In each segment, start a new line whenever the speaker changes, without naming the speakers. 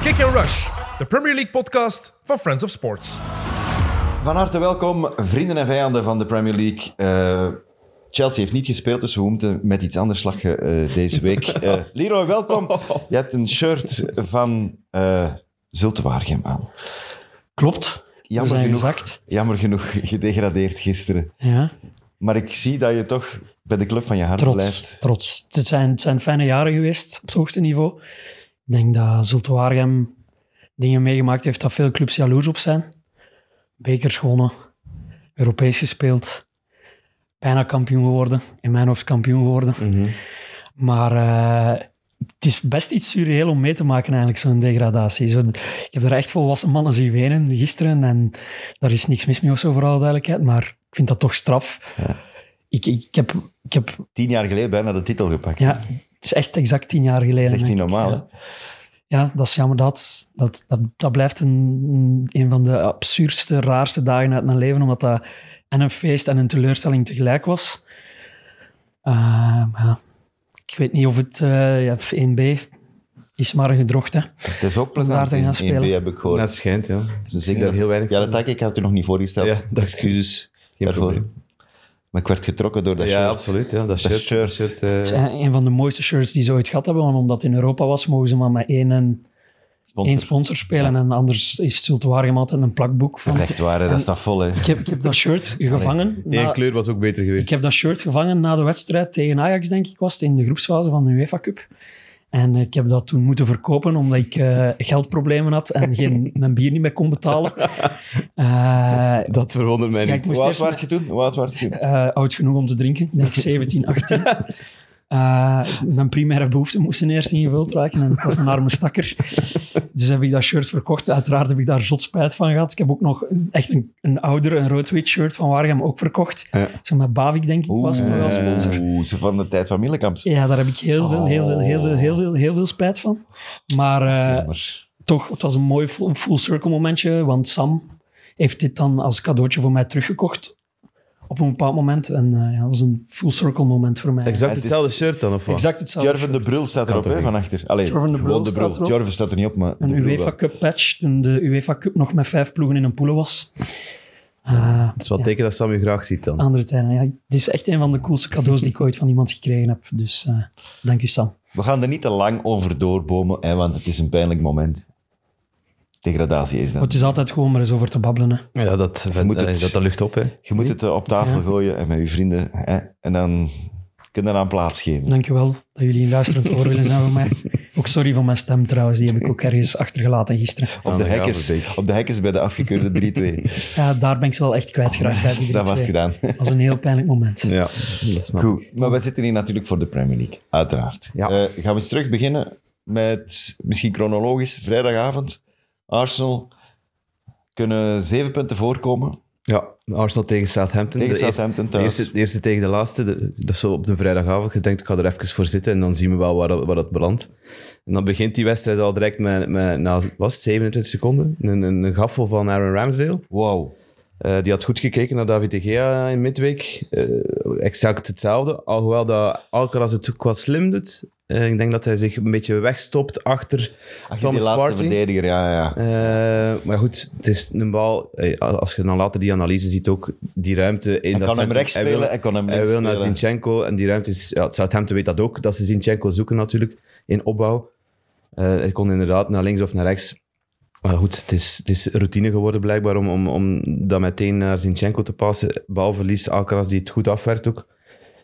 Kick and Rush, de Premier League podcast van Friends of Sports.
Van harte welkom, vrienden en vijanden van de Premier League. Eh, Chelsea heeft niet gespeeld, dus we moeten met iets anders slagen eh, deze week. Eh, Leroy, welkom. Je hebt een shirt van eh Zulte Waregem aan.
Klopt.
Jammer
zijn
genoeg,
gezakt.
jammer genoeg gedegradeerd gisteren.
Ja.
Maar ik zie dat je toch bij de club van je hart
Trots.
blijft.
trots. Het, zijn, het zijn fijne jaren geweest op het hoogste niveau. Ik denk dat Zulte Waregem dingen meegemaakt heeft dat veel clubs jaloers op zijn. Bekers gewonnen, Europees gespeeld, bijna kampioen geworden, in mijn hoofd kampioen geworden. Maar eh, het is best iets surreel om mee te maken eigenlijk, zo'n degradatie. Zo, ik heb er echt volwassen mannen zien wenen gisteren en daar is niks mis mee of zo, voor alle duidelijkheid. Maar ik vind dat toch straf. Ik, ik, ik heb... Ik heb
Tien jaar geleden bijna de titel gepakt.
ja, het is echt exact tien jaar geleden.
dat is echt niet
denk ik,
normaal,
ja. Ja, dat is jammer. Dat, dat, dat, dat blijft een, een van de absurdste, raarste dagen uit mijn leven, omdat dat en een feest en een teleurstelling tegelijk was. Eh, maar ja, ik weet niet of het... eh, ja, 1B is maar een gedrocht, hè.
hè. Het is ook
daar
plezant
te
in,
gaan
in
spelen.
B heb ik gehoord.
Dat schijnt, ja. Ze
Dus ik
zien daar
dacht-
heel weinig
Ja, dat
van.
dacht ik. Ik had het u nog niet voorgesteld.
Ja, dacht ik dus. Geen
Daarvoor.
probleem.
Maar ik werd getrokken door dat
ja,
shirt.
absoluut. Ja. Dat shirt.
shirt.
Dat shirt eh,
Het is een een van de mooiste shirts die ze ooit gehad hebben, want omdat het in Europa was, mogen ze maar met één, en,
Sponsor.
één sponsor spelen en anders is Zulte Waregem altijd een plakboek
Dat
van...
is echt waar, hè. dat staat vol. Hè.
Ik heb, ik heb dat shirt gevangen.
één
na-
kleur was ook beter
Ik
geweest.
heb dat shirt gevangen na de wedstrijd tegen Ajax, denk ik, was het, in de groepsfase van de UEFA Cup. En eh, ik heb dat toen moeten verkopen, omdat ik eh, geldproblemen had en geen, mijn bier niet meer kon betalen. Eh,
Dat verwondert mij
Ja,
niet.
ik moest
Hoe oud
eerst
werd je toen? Hoe oud werd je toen?
eh, oud genoeg om te drinken, ik denk 17, 18. Eh, mijn primaire behoeften moesten eerst ingevuld raken en ik was een arme stakker. Dus heb ik dat shirt verkocht. Uiteraard heb ik daar zot spijt van gehad. Ik heb ook nog echt een, een ouder, een rood-wit shirt van Waregem ook verkocht.
Ja.
Zo met Bavik, denk ik, was het nog als sponsor.
Oeh, ze van de tijd van Millekamp.
Ja, daar heb ik heel veel, heel veel, heel veel, heel veel, heel veel spijt van. Maar eh,
Jammer.
toch, het was een mooi full, full circle momentje, want Sam heeft dit dan als cadeautje voor mij teruggekocht op een bepaald moment. En eh, ja, dat was een full circle moment voor mij.
Exact
Het is-
hetzelfde shirt dan, of wat?
exact hetzelfde.
Jorven de Brul staat erop,
toch
hè,
niet?
van achter. Allee,
Jorven de Brul
gewoon de
staat
Brul.
erop.
Jorven staat er niet op, maar de
Een
Brul wel.
UEFA Cup patch, toen de UEFA Cup nog met vijf ploegen in een poelen was. Eh,
Dat is wat teken dat Sam je graag ziet dan.
andere tijden. Ja, het is echt een van de coolste cadeaus die ik ooit van iemand gekregen heb. Dus eh, dank u, Sam.
We gaan er niet te lang over doorbomen, hè, want het is een pijnlijk moment. Degradatie is
Maar het
dat.
is altijd gewoon maar eens over te babbelen. Hè.
Ja, dat,
moet het-
eh, dat, dat lucht op, hè.
Je moet het eh, op tafel gooien en met je vrienden. Hè, en dan kunnen we aan plaats geven.
Dankjewel dat jullie een luisterend oor willen zijn voor mij. Ook sorry voor mijn stem trouwens, die heb ik ook ergens achtergelaten gisteren.
Op de,
dan gaan we
hekjes,
zeker.
op de hekjes bij de afgekeurde 3-2.
Ja, daar ben ik ze wel echt kwijtgeraakt bij die
dat was het
drie twee.
gedaan.
Dat was een heel pijnlijk moment.
Ja, dat snap ik.
Goed, maar wij zitten hier natuurlijk voor de Premier League, uiteraard.
Ja.
Eh, gaan we eens terug beginnen met, misschien chronologisch, vrijdagavond. Arsenal kunnen zeven punten voorkomen
Ja, Arsenal tegen Southampton.
tegen
De eerste-
Southampton
De
thuis.
eerste, de eerste tegen de laatste, de- dat is zo op de vrijdagavond. Je denkt, ik ga er even voor zitten en dan zien we wel waar, dat- waar dat belandt. En dan begint die wedstrijd al direct met, met na was het, 27 seconden, een, een, een gaffel van Aaron Ramsdale.
Wow.
Eh, die had goed gekeken naar David De Gea in midweek. Eh, exact hetzelfde. Alhoewel dat Alcaraz het ook wat slim doet. Eh, ik denk dat hij zich een beetje wegstopt achter
Ach, die
Thomas
laatste
Partey.
verdediger, ja, ja.
Eh, maar goed, het is een bal. eh, Als je dan later die analyse ziet, ook die ruimte
Hij
in dat
kan hem
centrum.
rechts
Hij wil-
spelen, hij kan hem
hij
links
wil naar
spelen.
Zinchenko en die ruimte is... Ja, Southampton weet dat ook, dat ze Zinchenko zoeken natuurlijk in opbouw. Eh, hij kon inderdaad naar links of naar rechts. Maar goed, het is, het is routine geworden blijkbaar om, om, om dat meteen naar Zinchenko te passen. Balverlies, Alcaraz die het goed afwerkt ook.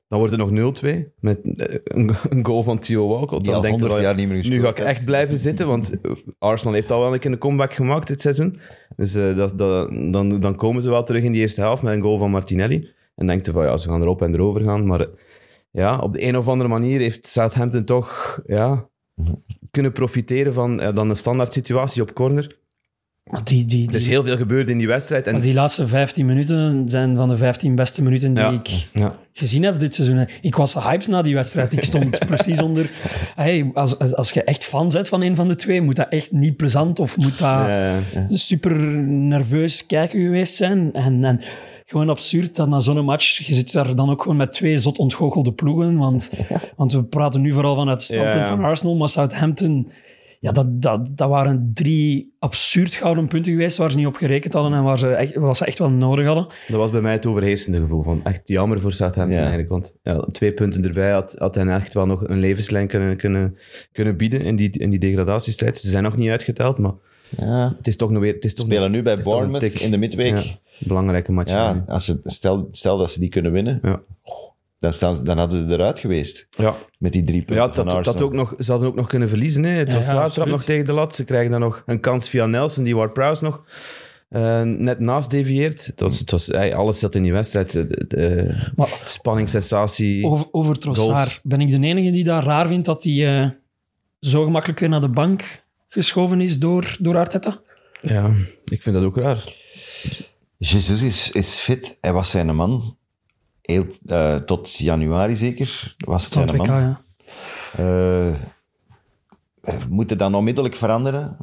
Dan wordt het nog 0-2 met eh, een, een goal van Theo Walcott.
Die
Dan
al
denk je
100
wel,
jaar niet meer gespeeld
Nu ga ik
heeft.
echt blijven zitten, want eh, Arsenal heeft al wel een keer een comeback gemaakt dit seizoen. Dus eh, dat, dat, dan, dan komen ze wel terug in die eerste helft met een goal van Martinelli. En denkt je van, ja, ze gaan erop en erover gaan. Maar eh, ja, op de een of andere manier heeft Southampton toch ja, kunnen profiteren van eh, dan een standaard situatie op corner.
Want die, die,
Er is
die,
heel veel gebeurd in die wedstrijd. En,
want die laatste 15 minuten zijn van de 15 beste minuten die
Ja.
ik
ja.
gezien heb dit seizoen. Ik was hyped na die wedstrijd. Ik stond precies onder... Hey, als, als, als je echt fan bent van een van de twee, moet dat echt niet plezant of moet dat...
eh,
super nerveus kijken geweest zijn. En, en gewoon absurd dat na zo'n match, je zit daar dan ook gewoon met twee zot ontgoochelde ploegen. Want, want we praten nu vooral vanuit het standpunt
Ja, ja.
van Arsenal, maar Southampton Ja, dat, dat, dat waren drie absurd gouden punten geweest waar ze niet op gerekend hadden en waar ze echt, wat ze echt wel nodig hadden.
Dat was bij mij het overheersende gevoel. Van echt jammer voor Southampton
Ja.
eigenlijk. Want ja, twee punten erbij had, had hen echt wel nog een levenslijn kunnen, kunnen, kunnen bieden in die, in die degradatiestijd. Ze zijn nog niet uitgeteld, maar
Ja.
het is toch nog weer... Het is toch
Spelen
nog-
nu bij
het is toch een
Bournemouth
tik.
in de midweek.
Ja, belangrijke match.
Ja,
Ja.
als ze, stel, stel dat ze die kunnen winnen,
Ja.
dan, staan, ze- dan hadden ze eruit geweest
Ja.
met die drie punten
Ja, dat,
van
dat
Arsenal.
ook nog, ze hadden ook nog kunnen verliezen. Hè. Het
Ja,
was
ja,
daar trap
absoluut.
nog tegen de lat. Ze krijgen dan nog een kans via Nelson, die Ward-Prowse nog eh, net naast devieert. Dat was, het was, ey, alles zat in die wedstrijd. De, de- de
Maar
spanning, sensatie.
over, over Trossard,
Goals.
ben ik de enige die dat raar vindt dat hij eh, zo gemakkelijk weer naar de bank geschoven is door, door Arteta?
Ja, ik vind dat ook raar.
Jesus is, is fit. Hij was zijn man. Heel, eh, tot januari zeker was het
Van
zijn
het WK,
man.
ja.
Eh, we moeten dan onmiddellijk veranderen.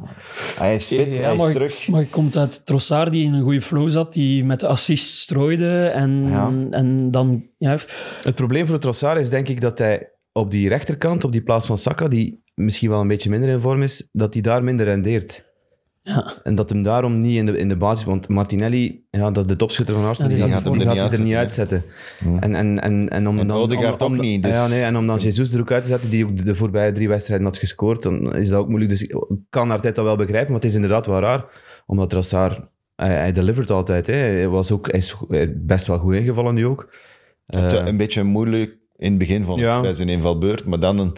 Hij is fit, hij is
maar,
terug.
Maar je komt uit Trossard, die in een goede flow zat, die met de assist strooide. En,
Ja.
en dan... Ja,
Het probleem voor Trossard is denk ik dat hij op die rechterkant, op die plaats van Saka, die misschien wel een beetje minder in vorm is, dat hij daar minder rendeert.
ja.
En dat hem daarom niet in de, in de basis... Want Martinelli, ja, dat is de topschutter van Arsenal,
Ja,
die,
die
gaat,
gaat hem
die
er
gaat hij
niet
er niet uitzetten. En, en, en, en om
En
dan...
Odegaard
om- om-
ook niet, dus-
Ja, nee, en om dan Jesus er ook uit te zetten, die ook de, de voorbije drie wedstrijden had gescoord, dan is dat ook moeilijk. Dus ik kan Arteta wel begrijpen, maar het is inderdaad wel raar. Omdat Trossard, hij, hij delivert altijd. Hè. Hij, was ook, hij is go- hij is best wel goed ingevallen nu ook.
Het, eh, een beetje moeilijk in het begin vond ik
Ja.
bij zijn invalbeurt. Maar dan een-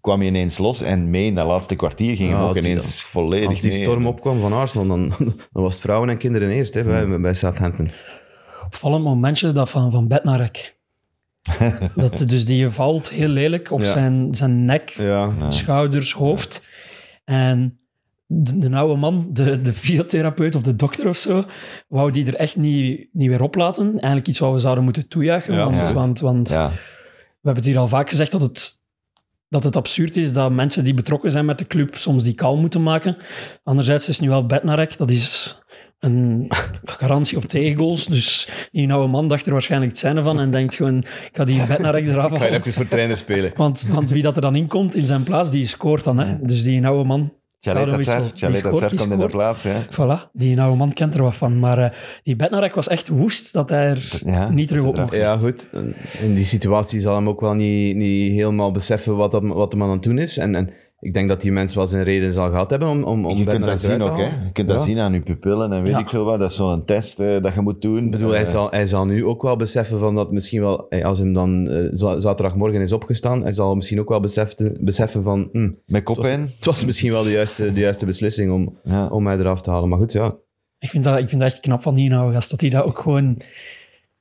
kwam hij ineens los en mee in dat laatste kwartier ging
Ja,
hij ook
als die
ineens
dan-
volledig
Als die
mee.
storm opkwam van Arsenal, dan, dan was het vrouwen en kinderen eerst hè, bij, bij Southampton.
Opvallend momentje dat van, van bed naar rek. dat, dus die valt heel lelijk op
Ja.
zijn, zijn nek,
Ja,
schouders, hoofd. En de, de oude man, de, de fysiotherapeut of de dokter of zo, wou die er echt niet, niet weer op laten. Eigenlijk iets wat we zouden moeten toejuichen.
Ja,
want,
absoluut.
want, want
Ja.
We hebben het hier al vaak gezegd dat het, dat het absurd is dat mensen die betrokken zijn met de club soms die kalm moeten maken. Anderzijds is nu wel Bednarek, dat is een garantie op tegengoals. Dus die oude man dacht er waarschijnlijk het zijne van en denkt gewoon, ik ga die Bednarek eraf halen.
voor trainer spelen.
Want, want wie dat er dan inkomt in zijn plaats, die scoort dan. Hè? Dus die oude man...
Chalet
Gouden
Tatar,
wissel. Die
Chalet
scoort,
Tatar
die
komt in de
scoort.
plaats. Hè.
Voilà, die oude man kent er wat van. Maar eh, die Bednarek was echt woest dat hij er
Ja,
niet terug op
dat
mocht.
hij
Ja, goed. In die situatie zal hem ook wel niet, niet helemaal beseffen wat, dat, wat de man aan het doen is. En, en ik denk dat die mens wel zijn reden zal gehad hebben om, om, om
Je kunt
Bernard
dat zien
eruit te
ook,
halen.
hè? Je kunt dat
Ja.
zien aan je pupillen en weet
Ja.
ik veel wat. Dat is zo'n test eh, dat je moet doen. Eh,
Ik bedoel, hij zal, hij zal nu ook wel beseffen van dat misschien wel, eh, als hem dan eh, za- zaterdagmorgen is opgestaan, hij zal misschien ook wel beseffen, beseffen van, hm,
Met kop in.
het was misschien wel de juiste, de juiste beslissing om,
Ja.
om mij eraf te halen. Maar goed, ja.
Ik vind, dat, ik vind dat echt knap van die nou, gast. Dat hij dat ook gewoon...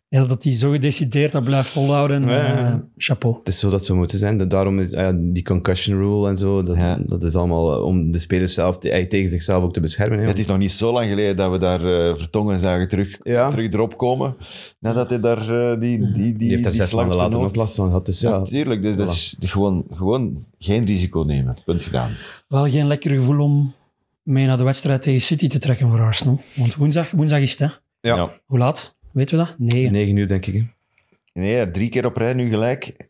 ja, dat hij zo gedecideerd dat blijft volhouden.
Ja, ja, ja.
Eh, chapeau.
Het is zo dat ze moeten zijn. Dat- Daarom is eh, die concussion rule en zo, dat,
Ja.
dat is allemaal eh, om de spelers zelf, te- eh, tegen zichzelf ook te beschermen. hè.
Het is nog niet zo lang geleden dat we daar eh, Vertongen zagen terug,
Ja.
terug erop komen. Nadat hij daar eh, die, die, die,
Die heeft daar
die
zes
slang op zijn
maanden later nog
hoofd-
last van gehad. Dus ja,
Natuurlijk, dus dat is gewoon, gewoon geen risico nemen. Punt gedaan.
Wel geen lekker gevoel om mee naar de wedstrijd tegen City te trekken voor Arsenal. Want woensdag, woensdag is het, hè?
Ja.
Hoe laat? Weten we dat? Nee.
9 uur denk ik. hè.
Nee, ja, drie keer op rij nu gelijk.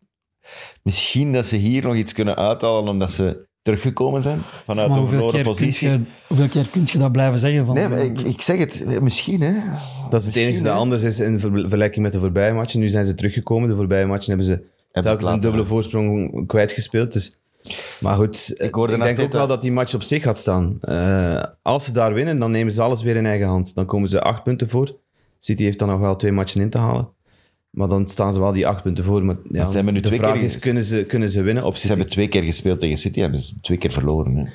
Misschien dat ze hier nog iets kunnen uithalen omdat ze teruggekomen zijn vanuit
maar
een
hoeveel
verloren
keer, kun
positie.
je, hoeveel keer kun je dat blijven zeggen? Van,
Nee,
eh,
maar ik, ik zeg het, eh, misschien hè.
Dat is het
Misschien,
enige dat
hè.
anders is in ver- vergelijking met de voorbije matchen. Nu zijn ze teruggekomen. De voorbije matchen hebben ze
het
telkens een
laten
dubbele
gaan.
voorsprong kwijtgespeeld. Dus. Maar goed, eh,
Ik hoorde
denk
Arteta-
ook wel dat die match op zich gaat staan. Eh, als ze daar winnen, dan nemen ze alles weer in eigen hand. Dan komen ze acht punten voor. City heeft dan nog wel twee matchen in te halen. Maar dan staan ze wel die acht punten voor. Maar, ja,
Maar ze hebben nu
de
twee
vraag
keer
is,
ge-
kunnen ze, kunnen ze winnen op
Ze
City?
hebben twee keer gespeeld tegen City, hebben ze twee keer verloren. Hè.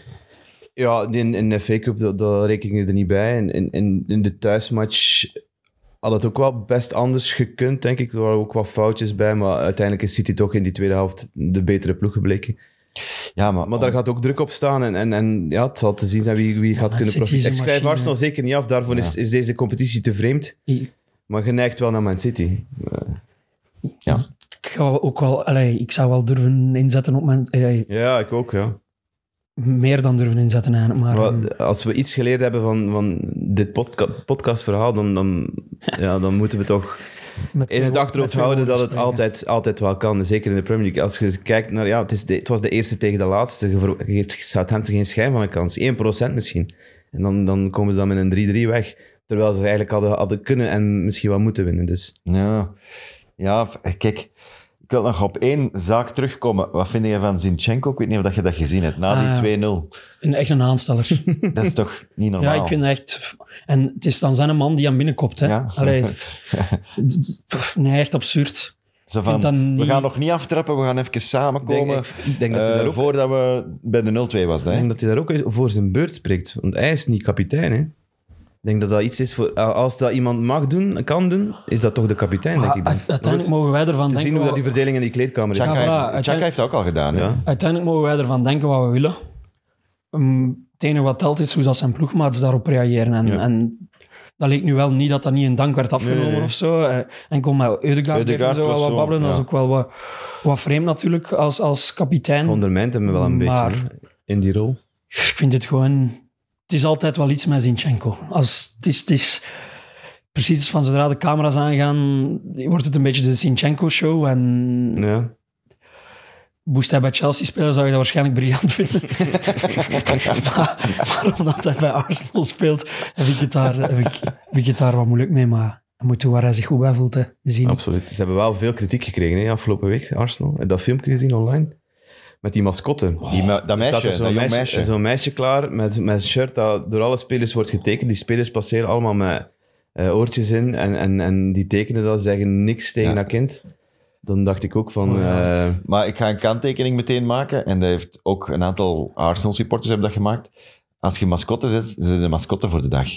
Ja, in, in de FA Cup, dat, dat reken ik er niet bij. In, in- in, in de thuismatch had het ook wel best anders gekund, denk ik. Er waren ook wat foutjes bij, maar uiteindelijk is City toch in die tweede helft de betere ploeg gebleken.
Ja, maar,
Maar daar gaat ook druk op staan en, en, en ja, het zal te zien zijn wie, wie gaat
Man
kunnen
City is
profiteren.
een
Ik schrijf
machine.
Arsenal zeker niet af, daarvoor is, is deze competitie te vreemd.
Ik
Maar geneigd wel naar Man City.
ga ook wel... Allee, ik zou wel durven inzetten op mijn... eh,
Ja, ik ook, ja.
meer dan durven inzetten eigenlijk, maar...
Maar
ehm,
als we iets geleerd hebben van, van dit podca- podcastverhaal, dan, dan, ja, dan moeten we toch
met
in het
twee-
achterhoofd
met twee
houden dat
woorden
het altijd, altijd wel kan. Zeker in de Premier League. Als je kijkt naar... Ja, het, is de- het was de eerste tegen de laatste. Je ver- je geeft Southampton geen schijn van een kans. 1% misschien. En dan, dan komen ze dan met een 3-3 weg. Terwijl ze eigenlijk hadden, hadden kunnen en misschien wel moeten winnen. Dus
Ja. ja, f- kijk. Ik wil nog op één zaak terugkomen. Wat vind je van Zinchenko? Ik weet niet of dat je dat gezien hebt.
Ah,
Na
ja.
die 2-0.
spreken. Een, echt een aansteller.
Dat is toch niet normaal?
ja, ik vind echt... En het is dan zijn man die aan binnenkomt. Hè.
Ja.
Allee, pff, nee, echt absurd.
Zo van,
vind dat niet-
We gaan nog niet aftrappen, we gaan even samenkomen.
Ik denk- ik denk dat hij
Eh,
daar ook-
Voordat we bij de 0-2 was, dat,
ik
hè?
denk dat hij daar ook voor zijn beurt spreekt. Want hij is niet kapitein, hè. Ik denk dat dat iets is voor... Als dat iemand mag doen, kan doen, is dat toch de kapitein, denk ik. dan.
Maar Ah, Uiteindelijk mogen wij ervan
te zien hoe
denken...
dat die
wat-
verdeling in die kleedkamer is.
Chaka,
Ja, voilà,
heeft, Chaka
uiteindelijk-
heeft dat ook al gedaan. hè.
Ja.
Uiteindelijk mogen wij ervan denken wat we willen. Ehm, het enige wat telt is hoe dat zijn ploegmaats daarop reageren. En,
Ja.
en dat leek nu wel niet dat dat niet in dank werd afgenomen
Nee, nee, nee.
of zo. Eh, En kon met Eudegaard bleef hem
Ødegaard
zo wel
was
wat
zo,
babbelen. Dat is
ja.
ook wel wat, wat vreemd natuurlijk als, als kapitein.
Ondermijnt hem wel een
Hm. Maar-
beetje hè, in die rol.
Ik vind het gewoon... Het is altijd wel iets met Zinchenko. Als, het, is, het is precies van zodra de camera's aangaan, wordt het een beetje de Zinchenko-show. En
Ja.
moest hij bij Chelsea spelen, zou je dat waarschijnlijk briljant vinden. maar, maar omdat hij bij Arsenal speelt, heb ik het daar, heb ik, heb ik het daar wat moeilijk mee. Maar hij moet doen waar hij zich goed bij voelt, hè. zien.
Absoluut. Ze hebben wel veel kritiek gekregen hè, afgelopen week, Arsenal. Heb je Dat filmpje gezien online? Met die mascotte.
Die me- dat
Staat
Oh, meisje,
Oh, er
dat
zo'n
jong meisje.
meisje, zo'n meisje klaar met, met een shirt dat door alle spelers wordt getekend. Die spelers passeren allemaal met eh, oortjes in en, en, en die tekenen dat, zeggen niks tegen
Ja.
dat kind. Dan dacht ik ook van... eh,
Maar ik ga een kanttekening meteen maken. En dat heeft ook een aantal Arsenal supporters hebben dat gemaakt. Als je mascotte zet, zijn ze de mascotte voor de dag,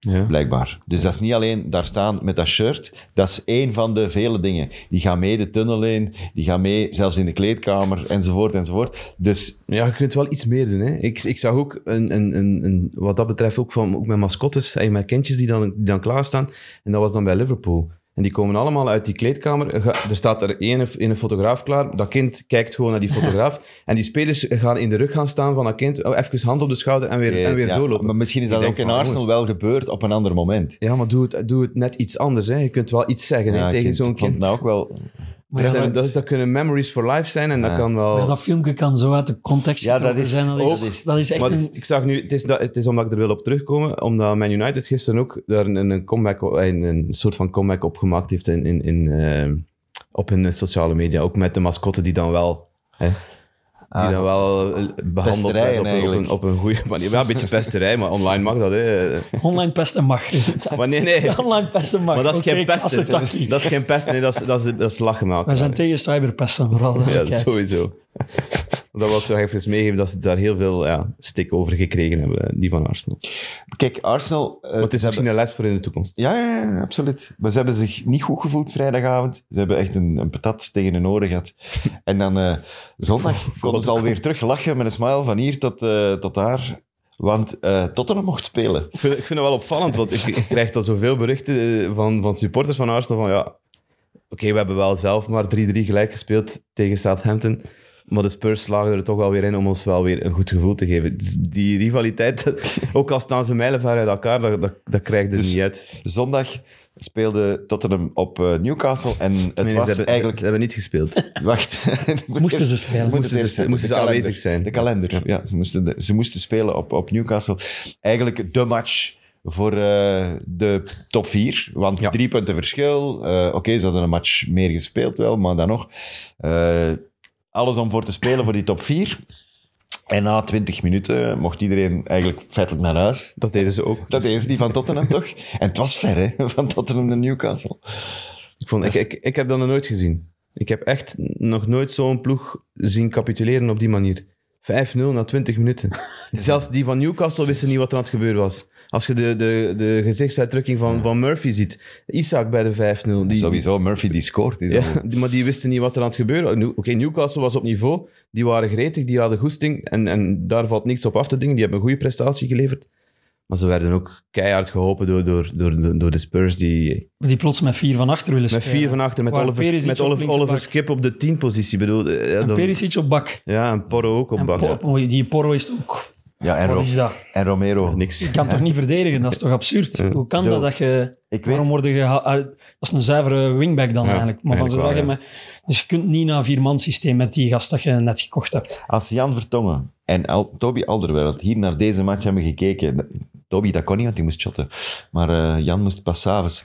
ja.
blijkbaar. Dus dat is niet alleen daar staan met dat shirt. Dat is één van de vele dingen. Die gaan mee de tunnel in, die gaan mee zelfs in de kleedkamer, enzovoort, enzovoort. Dus
Ja, je kunt wel iets meer doen. Hè. Ik, ik zag ook, een, een, een, een- wat dat betreft, ook, van, ook met mascottes en met kindjes die dan, die dan klaarstaan. En dat was dan bij Liverpool. En die komen allemaal uit die kleedkamer. Ga- Er staat er één één fotograaf klaar. Dat kind kijkt gewoon naar die fotograaf. en die spelers gaan in de rug gaan staan van dat kind. Oh, even hand op de schouder en weer, en weer
eh, ja,
doorlopen.
Maar misschien is
Ik
dat
denk
ook in
van,
Arsenal
jongens,
wel gebeurd op een ander moment.
Ja, maar doe het, doe het net iets anders. Hè. Je kunt wel iets zeggen hè,
Ja, ik
tegen
vind-
zo'n
ik vond
kind.
het nou ook wel...
Maar
dat,
ja,
zijn-
dat,
dat, dat kunnen memories for life zijn. En dat kan wel...
maar dat filmpje kan zo uit de context
Ja, dat
getrokken
is
zijn.
het
Dat is,
ook.
dat is, echt
Maar
een...
ik zag nu, het is, dat, het is omdat ik er wil op terugkomen, omdat Man United gisteren ook daar een, een comeback, een, een soort van comeback op gemaakt heeft in, in, in, eh, op hun sociale media. Ook met de mascotte die dan wel, hè, die
Ah,
dan wel eh, behandeld
pesterijen
werd op, een- op, een,
eigenlijk.
op een goede manier. Ja, een beetje pesterij, maar online mag dat. Hè.
Online pesten mag.
Maar nee, nee.
Online pesten mag.
Maar dat is
Oké,
geen pesten.
klassentakkie.
Dat is geen pesten, nee, dat is, dat is, dat is lachen maken.
Wij zijn tegen cyberpesten vooral.
Ja,
duidelijkheid.
sowieso. Dat wil ik toch even meegeven dat ze daar heel veel ja, stik over gekregen hebben, die van Arsenal.
Kijk, Arsenal... eh,
Maar het is
ze
misschien een les voor in de toekomst.
hebben- ja, ja, ja, absoluut. Maar ze hebben zich niet goed gevoeld vrijdagavond. Ze hebben echt een, een patat tegen hun oren gehad. En dan eh, zondag konden ze alweer terug lachen met een smile van hier tot, eh, tot daar. Want eh Tottenham mocht spelen.
Ik vind, ik vind het wel opvallend, want ik, ik krijg dan zoveel berichten eh, van, van supporters van Arsenal van ja, oké, we hebben wel zelf maar 3-3 gelijk gespeeld tegen Southampton, maar de Spurs slagen er toch wel weer in om ons wel weer een goed gevoel te geven. Dus die rivaliteit, ook al staan ze mijlenver uit elkaar, dat, dat, dat krijg je er
Dus
niet uit.
Zondag speelde Tottenham op eh, Newcastle. En het
Nee, nee,
was
ze, hebben,
eigenlijk...
ze hebben niet gespeeld.
Wacht. Ik moet
Moesten
eerst-
ze spelen?
ik moet
Moesten
het
ze-
eerst-
moesten
de
ze
kalender.
aanwezig zijn?
De kalender, ja. Ze moesten, de- ze moesten spelen op, op Newcastle. Eigenlijk de match voor eh, de top 4. Want
Ja.
drie punten verschil. Eh, Oké, ze hadden een match meer gespeeld wel, maar dan nog. Eh, alles om voor te spelen voor die top 4. En na 20 minuten mocht iedereen eigenlijk feitelijk naar huis.
Dat deden ze ook. Dus
Dat is die van Tottenham toch? En het was ver, hè? Van Tottenham naar Newcastle.
Ik, vond, ik, ik, ik heb dat nog nooit gezien. Ik heb echt nog nooit zo'n ploeg zien capituleren op die manier. 5-0 na 20 minuten. Zelfs die van Newcastle wisten niet wat er aan het gebeuren was. Als je de, de, de gezichtsuitdrukking van, van Murphy ziet. Isaac bij de 5-0. Die,
Sowieso, Murphy die scoort. Is al-
Ja, die- maar die wisten niet wat er aan het gebeuren was. Nu- Oké, Newcastle was op niveau. Die waren gretig, die hadden goesting. En, en daar valt niks op af te dingen. Die hebben een goede prestatie geleverd. Maar ze werden ook keihard geholpen door, door, door, door, door de Spurs. Die
Die plots met vier van achter willen
met
spelen.
vier van achter, met
Waar
Oliver,
Perisic
met
op
Oliver,
links
Oliver
bak.
Skip op de 10 positie. Bedoel, eh, ja,
En
dan-
Perisic op bak.
ja, en Porro ook op
En
bak. ja.
Por- Die Porro is ook...
ja en, Ro-
Wat is dat?
en Romero.
Niks.
Je kan toch niet verdedigen? Dat is toch absurd? Hoe kan
Doe.
dat dat je...
Ik weet
Waarom worden je... Dat is een zuivere wingback dan
Ja,
eigenlijk. Maar van
eigenlijk
zodra je
wel,
met- Dus je kunt niet naar vierman systeem met die gast dat je net gekocht hebt.
Als Jan Vertongen en Al Toby Alderweireld hier naar deze match hebben gekeken... d- Toby, dat kon niet, want die moest shotten. Maar eh, Jan moest pas s'avonds.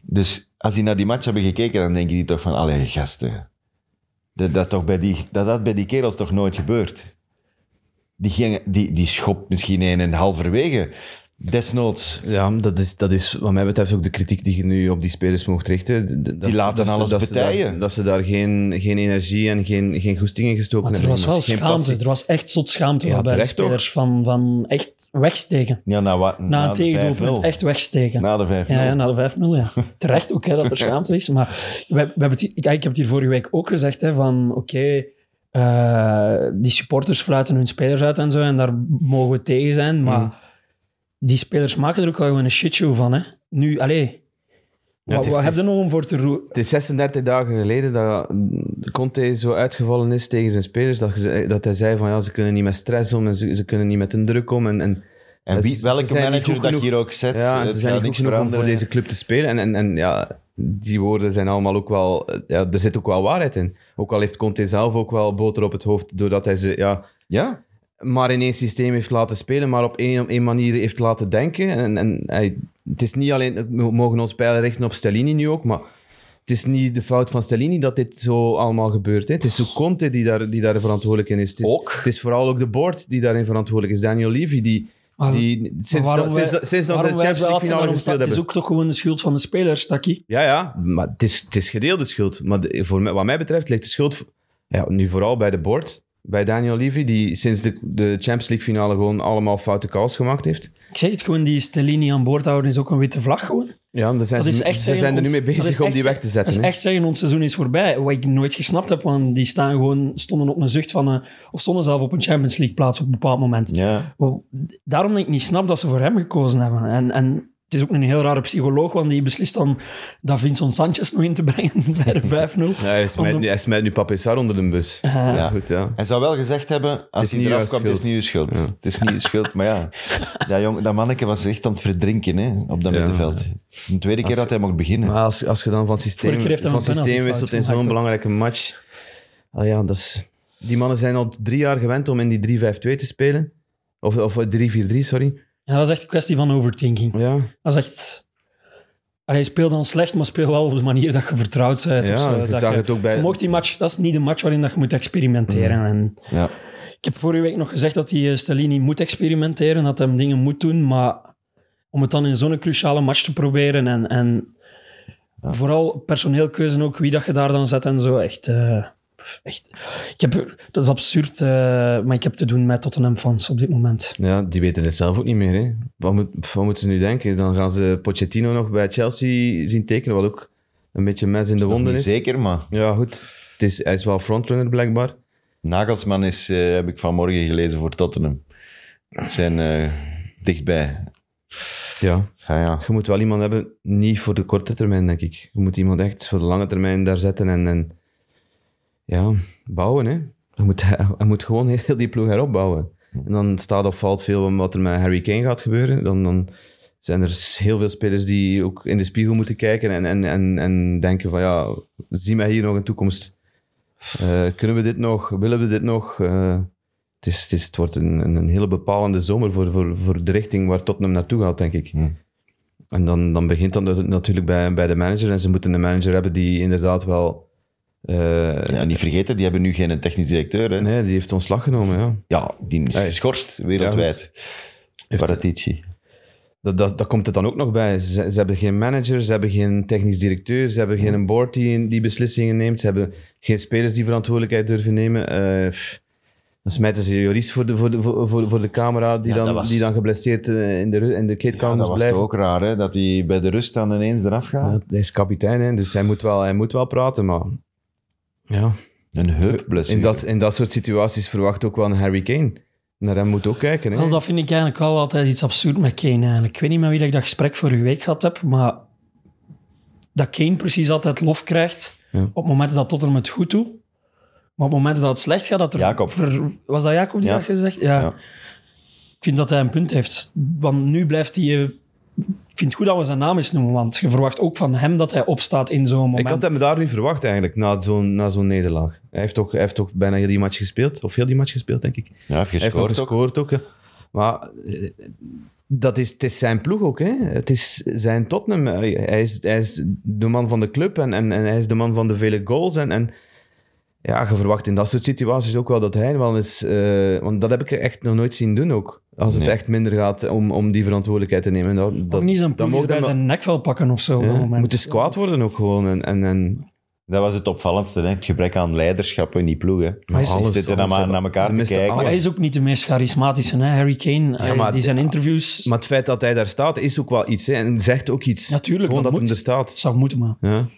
Dus als die naar die match hebben gekeken, dan denken die toch van... Allee, gasten. Dat dat, toch bij die, dat, dat bij die kerels toch nooit gebeurt. Die, gingen, die, die schopt misschien een en halverwege. Desnoods.
Ja, maar dat is, dat is wat mij betreft ook de kritiek die je nu op die spelers mocht richten. D- d- Dat,
Die laten
ze-
alles
ze daar-
betijen.
dat ze daar geen, geen energie en geen, geen goesting in gestoken
Maar er was
hebben.
wel
iemand. Geen
schaamte.
passie.
Er was echt zot schaamte
Ja,
wel bij de
terecht
spelers van, van echt wegsteken.
Ja, na, wat,
Na, een
de 5-0.
tegendoelpunt echt wegsteken.
Na de 5-0.
Ja, nou, ja, na de 5-0, ja. Terecht ook, hè, dat er schaamte is. Maar we, we hebben het, hier- ik, ik heb het hier vorige week ook gezegd, hè, van oké, eh, die supporters fluiten hun spelers uit en zo, en daar mogen we tegen zijn, maar
Mm.
die spelers maken er ook wel gewoon een shitshow van, hè. Nu, allee,
het
wat,
is-
wat
het
heb je
is-
nog om voor te roepen?
Het is 36 dagen geleden dat Conte zo uitgevallen is tegen zijn spelers. Dat, ze- dat hij zei van ja, ze kunnen niet met stress om en ze, ze kunnen niet met hun druk om. En, en,
En wie,
ze- ze
welke
zijn niet
manager
goed
dat je
genoeg.
hier ook zet,
Ja, en
het
ze zijn
gaat Eh, niks
niet goed genoeg om voor
veranderen.
deze club te spelen. En, en, en ja, die woorden zijn allemaal ook wel... eh, Ja, er zit ook wel waarheid in. Ook al heeft Conte zelf ook wel boter op het hoofd, doordat hij ze... Ja,
Ja,
maar in één systeem heeft laten spelen, maar op één, op één manier heeft laten denken. En, en hij, het is niet alleen... We mogen ons pijlen richten op Stellini nu ook, maar... Het is niet de fout van Stellini dat dit zo allemaal gebeurt. Hè. Het is ook Conte die daar, die daar verantwoordelijk in is. Het is,
Ook.
Het is vooral ook de board die daarin verantwoordelijk is. Daniel Levy, die...
Maar-
die sinds, dat, sinds, dat- sinds dat ze de Champions League finale gespeeld
Het is
hebben.
ook toch gewoon de schuld van de spelers, Taki.
Ja, ja, maar het is, het is gedeelde schuld. Maar de- voor mij, wat mij betreft ligt de schuld v- ja, nu vooral bij de board. Bij Daniel Levy, die sinds de, de Champions League finale gewoon allemaal foute calls gemaakt heeft.
Ik zeg het gewoon, die Stellini aan boord houden is ook een witte vlag gewoon.
Ja, daar zijn
Dat is
ze,
echt
ze
zeggen,
zijn er nu
ons-
mee
dat
bezig
is
om
echt-
die weg te zetten.
Dat is
hè.
echt zeggen, ons seizoen is voorbij. Wat ik nooit gesnapt heb, want die staan gewoon, stonden op een zucht van... eh, of stonden zelf op een Champions League plaats op een bepaald moment.
ja.
Wel, Daarom denk ik niet snap dat ze voor hem gekozen hebben. En, en het is ook een heel rare psycholoog, want die beslist dan dat Vincent Sanchez nog in te brengen bij de 5-0.
Ja, hij, is
Om de-
nu, hij smijt nu Papessar onder de bus.
Eh,
Ja.
Goed, ja.
Hij zou wel gezegd hebben, als
is
hij
niet
eraf
jouw
kwam, het is
schuld.
niet uw schuld. Het is niet uw schuld, maar ja. Dat, jong, dat manneke was echt aan het verdrinken hè, op dat
Ja.
middenveld. De tweede keer dat hij mocht beginnen.
Maar als, als je dan van systeem,
Vorige keer heeft hij
van
een penalty
systeem wisselt in
fout gemaakt,
zo'n
hè?
belangrijke match. Ah ja, dat is, die mannen zijn al drie jaar gewend om in die 3-5-2 te spelen. Of, of 3-4-3, sorry.
ja, dat is echt een kwestie van overthinking.
Ja,
Dat is echt... Allee, speel dan slecht, maar speel wel op de manier dat je vertrouwd bent.
Ja,
of zo.
je
Dat
zag het ook bij- Mm.
Je mocht die match... Dat is niet de match waarin dat je moet experimenteren. En
Ja.
Ik heb vorige week nog gezegd dat die eh, Stellini moet experimenteren, dat hem dingen moet doen, maar om het dan in zo'n cruciale match te proberen en, en vooral personeelkeuze ook, wie dat je daar dan zet en zo, echt... eh, echt ik heb, dat is absurd, eh, maar ik heb te doen met Tottenham-fans op dit moment.
Ja, die weten het zelf ook niet meer. Hè. Wat, moet, wat moeten ze nu denken? Dan gaan ze Pochettino nog bij Chelsea zien tekenen, wat ook een beetje mes in de
Nog
wonden
niet
is.
zeker, maar
Ja, goed. Het is, hij is wel frontrunner, blijkbaar.
Nagelsman is, eh, heb ik vanmorgen gelezen voor Tottenham. Zijn eh, dichtbij.
Ja.
Ja, ja.
Je moet wel iemand hebben, niet voor de korte termijn, denk ik. Je moet iemand echt voor de lange termijn daar zetten en, en ja, bouwen. Hè. Je, moet, je moet gewoon heel die ploeg heropbouwen. En dan staat of valt veel van wat er met Harry Kane gaat gebeuren. Dan, dan zijn er heel veel spelers die ook in de spiegel moeten kijken en, en, en, en denken van ja, zien wij hier nog een toekomst? Eh, kunnen we dit nog? Willen we dit nog? Eh, het, is, het, is, het wordt een, een een hele bepalende zomer voor, voor, voor de richting waar Tottenham naartoe gaat, denk ik. En dan, dan begint dat natu- natuurlijk bij, bij de manager. En ze moeten een manager hebben die inderdaad wel... eh,
Ja, niet vergeten, die hebben nu geen technisch directeur. Hè.
Nee, die heeft ontslag genomen, ja.
Ja, die is
Nee.
geschorst wereldwijd. Paratici.
Dat, dat, dat komt het dan ook nog bij. Ze, ze hebben geen manager, ze hebben geen technisch directeur, ze hebben geen board die, die beslissingen neemt, ze hebben geen spelers die verantwoordelijkheid durven nemen. Eh, pff, dan smijten ze Joris voor de, voor de, voor, voor- voor de camera, die,
Ja,
dan,
dat was-
die dan geblesseerd eh, in de, ru- in de
Ja,
kleedkamer
dat
moest
was toch
blijven.
ook raar, hè, dat hij bij de rust dan ineens eraf gaat.
Ja, hij is kapitein, hè, dus hij moet, wel, hij moet wel praten, maar... Ja.
Een heupblessure.
In dat, in dat soort situaties verwacht ook wel een Harry Kane. Naar hem moet ook kijken. Hè?
Wel, dat vind ik eigenlijk wel altijd iets absurd met Kane eigenlijk. Ik weet niet met wie dat ik dat gesprek vorige week gehad heb, maar dat Kane precies altijd lof krijgt
Ja.
op momenten dat Tottenham het goed doet. Maar op momenten dat het slecht gaat, dat er...
Jacob.
was dat Jacob die
Ja.
dat gezegd? Ja.
Ja.
Ik vind dat hij een punt heeft. Want nu blijft hij eh, Ik vind het goed dat we zijn naam eens noemen, want je verwacht ook van hem dat hij opstaat in zo'n moment.
Ik had hem daar niet verwacht eigenlijk, na zo'n, na zo'n nederlaag. Hij heeft, ook, hij heeft ook bijna heel die match gespeeld, of heel die match gespeeld, denk ik.
Ja, heeft
Hij heeft ook
gescoord ook.
gescoord ook. hè. Maar eh, dat is, het is zijn ploeg ook. Hè. Het is zijn Tottenham. Allee, Hij is, hij is de man van de club en, en, en hij is de man van de vele goals. En, en ja, je verwacht in dat soort situaties ook wel dat hij wel eens... eh, want dat heb ik echt nog nooit zien doen ook. Als het
Nee.
echt minder gaat om, om die verantwoordelijkheid te nemen. Dat, dat,
ook niet zijn
dat
ploeg
mag
eens bij
dan wel-
zijn nek wel pakken of zo. op
ja,
dat moment.
moet eens kwaad worden ook gewoon. En, en, en
Dat was het opvallendste, hè? het gebrek aan leiderschap in die ploeg. Hè?
Maar is-
Is
alles,
dit er
alles,
naar,
hè.
naar elkaar
Ze
te
misten
kijken?
Maar hij is ook niet de meest charismatische, hè? Harry Kane. hij-
maar-
die zijn interviews...
maar het feit dat hij daar staat is ook wel iets. Hè. En zegt ook iets.
Natuurlijk,
gewoon
dat
dat,
moet.
hij er staat.
zou moeten, maar...
Ja.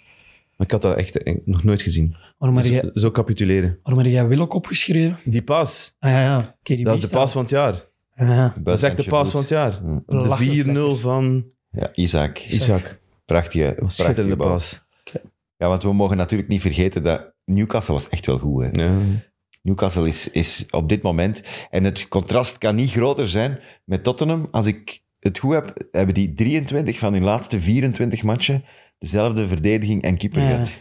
Maar ik had dat echt eh, nog nooit gezien.
Waarom heb
Zo,
jij,
zo capituleren.
waarom heb jij Willok opgeschreven?
Die pas.
Ah ja, ja. Oké, die
Dat is de
bestaat.
pas van het jaar.
Ja, ja.
Dat is echt de pas van het jaar.
Mm.
De 4-0 van
Ja, Isaac.
Isaac.
Prachtige,
Wat
prachtige
schitterende
bal.
pas.
Ja, want we mogen natuurlijk niet vergeten dat Newcastle was echt wel goed. Hè?
Ja.
Newcastle is, is op dit moment... En het contrast kan niet groter zijn met Tottenham. Als ik het goed heb, hebben die 23 van hun laatste 24 matchen dezelfde verdediging en keeper
Ja.
gehad.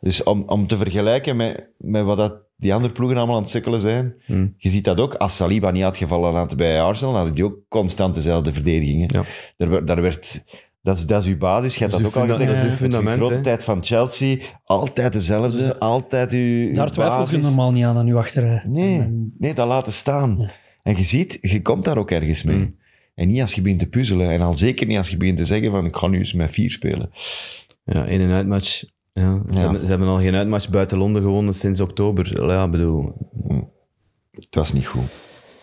Dus om, om te vergelijken met, met wat dat die andere ploegen allemaal aan het sukkelen zijn,
Hmm.
je ziet dat ook. Als Saliba niet had gevallen had bij Arsenal, hadden die ook constant dezelfde verdedigingen.
Ja.
Daar, wer- daar werd... Dat is, dat is uw basis, je hebt
Dat
dat,
is
ook
uw
al
funda-
gezegd.
dat is uw
Het
fundament,
grote
hè.
tijd van Chelsea, altijd dezelfde, altijd uw uw
Daar twijfel je
basis.
normaal niet aan, aan uw achterrij.
Nee, nee, dat laten staan. En je ziet, je komt daar ook ergens mee.
Mm.
En niet als je begint te puzzelen. En al zeker niet als je begint te zeggen van ik ga nu eens met vier spelen.
Ja, in- en uitmatch. Ja. Ze,
Ja.
Hebben, ze hebben al geen uitmatch buiten Londen gewonnen sinds oktober. Ja, bedoel.
Het was niet goed.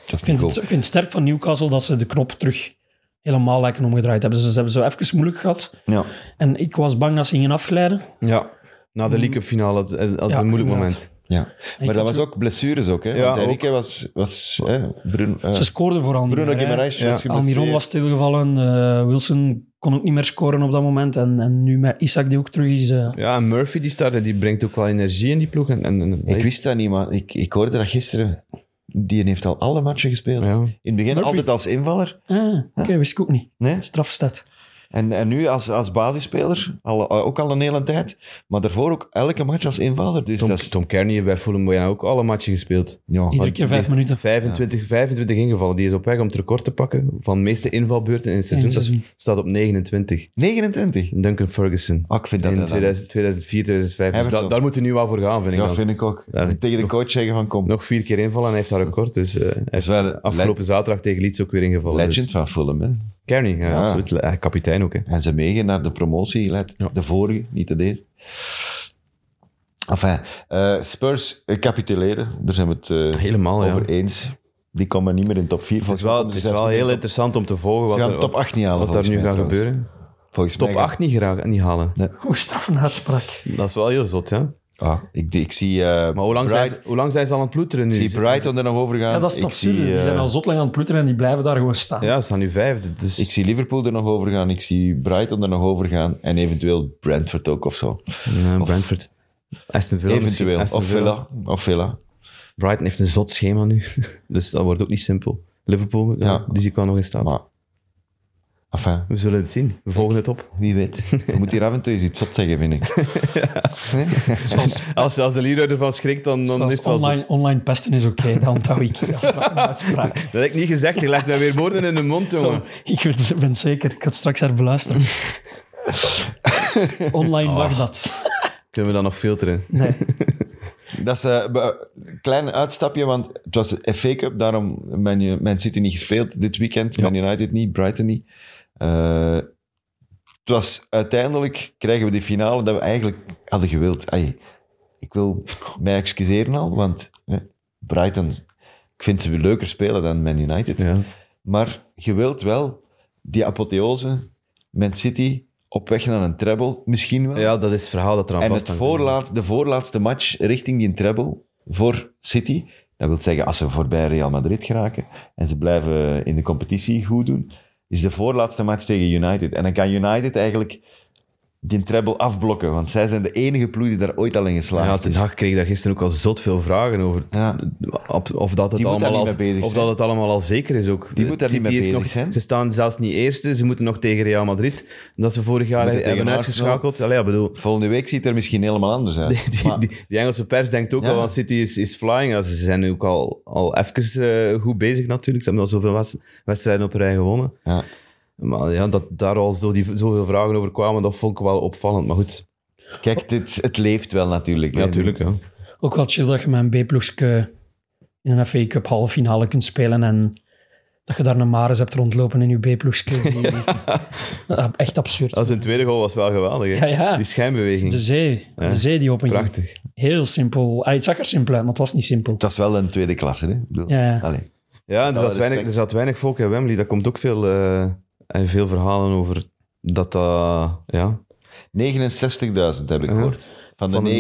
Het was
Ik
niet
vind, het,
goed.
ik vind het sterk van Newcastle dat ze de knop terug helemaal lijken omgedraaid hebben. Ze, ze hebben zo even moeilijk gehad.
Ja.
En ik was bang dat ze gingen afglijden.
Ja. Na de League Cup finale had, had
Ja,
een moeilijk
inderdaad.
moment.
Ja. Maar dat
had
was
zo-
ook blessures ook. Hè?
Ja,
Want
ook.
Henrique was... was hè, Bruno, eh,
Ze scoorden vooral niet
Bruno
meer, hè.
Guimaraes
Ja.
was geblesseerd.
Almiron was stilgevallen. eh, Wilson kon ook niet meer scoren op dat moment. En, en nu met Isaac die ook terug is. eh,
Ja, en Murphy die startte, die brengt ook wel energie in die ploeg. En, en, en-
Ik wist dat niet, maar ik, ik hoorde dat gisteren. Die heeft al alle matchen gespeeld.
Ja.
In het begin
Murphy.
altijd als invaller.
ah, Oké, wist ik ook niet.
Nee?
Strafstad.
En, en nu als, als basisspeler, al, eh, ook al een hele tijd. Maar daarvoor ook elke match als invaller. Dus
Tom,
dat is,
Tom Kearney heeft bij Fulham bijna ook alle matchen gespeeld.
ja,
Iedere
maar-
keer vijf
Oh, die-
minuten.
25, 25 ingevallen. Die is op weg om het record te pakken van de meeste invalbeurten in het seizoen.
In het seizoen.
Dat staat op 29.
29?
Duncan Ferguson.
Ah, ik vind dat...
in
dat-
2000, 2004, 2005. Dus
Everton.
da- daar moeten we nu wel voor gaan, vind ik.
ja,
dan.
vind ik ook.
Ja, ik-
Tegen de
nog-
coach zeggen van kom.
Nog vier keer invallen en hij heeft dat record. Dus eh, hij
is
is
wel een
afgelopen zaterdag tegen Leeds ook weer ingevallen.
legend
Dus.
van Fulham. Hè?
Kearney, ja,
Ja.
absoluut. Le- eh, kapitein ook. Hè.
En ze meegen naar de promotie. Let,
Ja.
De vorige, niet de deze. Enfin, eh, Spurs eh, capituleren. Daar zijn we het eh,
Helemaal, ja.
over eens. Die komen niet meer in top 4.
Het is wel, het is wel heel interessant om te volgen
Ze
wat
gaan
er,
top 8 niet halen.
wat daar
volgens
nu
mij,
gaat
trouwens.
gebeuren.
Volgens
Top
mij gaan-
8 niet, geraken- niet halen.
Hoe straf een uitspraak.
Dat is wel heel zot, ja.
Ah, ik, ik zie, eh
Maar hoe lang, zijn
Bright,
ze, hoe lang zijn ze al aan het ploeteren nu?
ik zie Brighton er nog over gaan.
Ja, dat is het
ik zie,
absurde. die
eh,
zijn al zot lang aan het ploeteren en die blijven daar gewoon staan.
Ja, ze staan nu vijfde. Dus...
Ik zie Liverpool er nog over gaan. Ik zie Brighton er nog over gaan. En eventueel Brentford ook of zo.
Ja, Brentford. Aston Villa.
Eventueel.
misschien. Aston
Of Villa. Of Villa.
Brighton heeft een zot schema nu. dus dat wordt ook niet simpel. Liverpool, ja,
Ja.
die zie ik wel nog in staat.
Maar... Enfin,
We zullen het zien. We volgen het op.
wie weet. Je moet hier af en toe eens iets op zeggen, vind ik.
Zoals,
Als, als de leader ervan schrikt, dan, dan is
zoals
het wel zo.
Dus online, online pesten is oké, dan onthoud ik als straf een uitspraak.
Dat heb ik niet gezegd. Je legt mij weer woorden in de mond, jongen.
Ik ben, ben zeker, ik ga het straks haar beluisteren. Online
Ah.
mag dat.
Kunnen we dat nog filteren?
Nee.
Dat is eh, be- een klein uitstapje, want het was de FA Cup. Daarom Man, U- Man City niet gespeeld dit weekend. Man United niet, Brighton niet. Eh, het was uiteindelijk krijgen we die finale dat we eigenlijk hadden gewild. Ai, ik wil mij excuseren al, want eh, Brighton, ik vind ze leuker spelen dan Man United.
Ja.
Maar je wilt wel die apotheose, Man City op weg naar een treble, misschien wel.
ja, dat is het verhaal dat eraan
en
vast
het voorlaat, de voorlaatste match richting die treble voor City. Dat wil zeggen, als ze voorbij Real Madrid geraken en ze blijven in de competitie goed doen, is de voorlaatste match tegen United. En dan kan United eigenlijk die treble afblokken. Want zij zijn de enige ploeg die daar ooit al in
Ja,
geslaagd
Ten
is.
Hag kreeg daar gisteren ook al zot veel vragen over.
Ja.
Of, of dat het
Die moet daar
allemaal
niet
als-
mee bezig
of
zijn.
dat het allemaal al zeker is ook.
Die moet daar niet
City
mee
is
bezig
nog-
zijn.
Ze staan zelfs niet eerste. Ze moeten nog tegen Real Madrid. Dat ze vorig jaar
moeten
hebben
tegen
uitgeschakeld. Allee, ja, bedoel,
Volgende week ziet het er misschien helemaal anders uit.
die, die,
Maar-
die- die Engelse pers denkt ook
Ja.
al, want City is, is flying. Ja, Ze zijn nu ook al, al even eh, goed bezig natuurlijk. Ze hebben al zoveel wes- wedstrijden op rij gewonnen.
Ja.
Maar ja, dat daar al zo die, zoveel vragen over kwamen, dat vond ik wel opvallend. Maar goed,
Kijk, dit, het leeft wel natuurlijk.
ja, natuurlijk. Ja.
Ook wel chill dat je met een B-ploegske in een FA Cup halve finale kunt spelen en dat je daar een Maris hebt rondlopen in je B-ploegske. Die- Ja, Echt absurd.
Dat zijn tweede goal was wel geweldig. hè.
Ja, ja. Dus- de
Die schijnbeweging.
zee.
Ja.
De zee die openging.
Prachtig.
Heel simpel. Ah, het zag er simpel uit, maar het was niet simpel.
Dat is wel een tweede klasse. Hè? Ik bedoel,
Ja, ja.
allee.
Ja, en
Wel
er zat,
respect.
weinig, er zat weinig volk in Wembley. Daar komt ook veel, eh, en veel verhalen over dat dat... ja.
69.000 heb ik
Ja.
gehoord. Van de,
Van de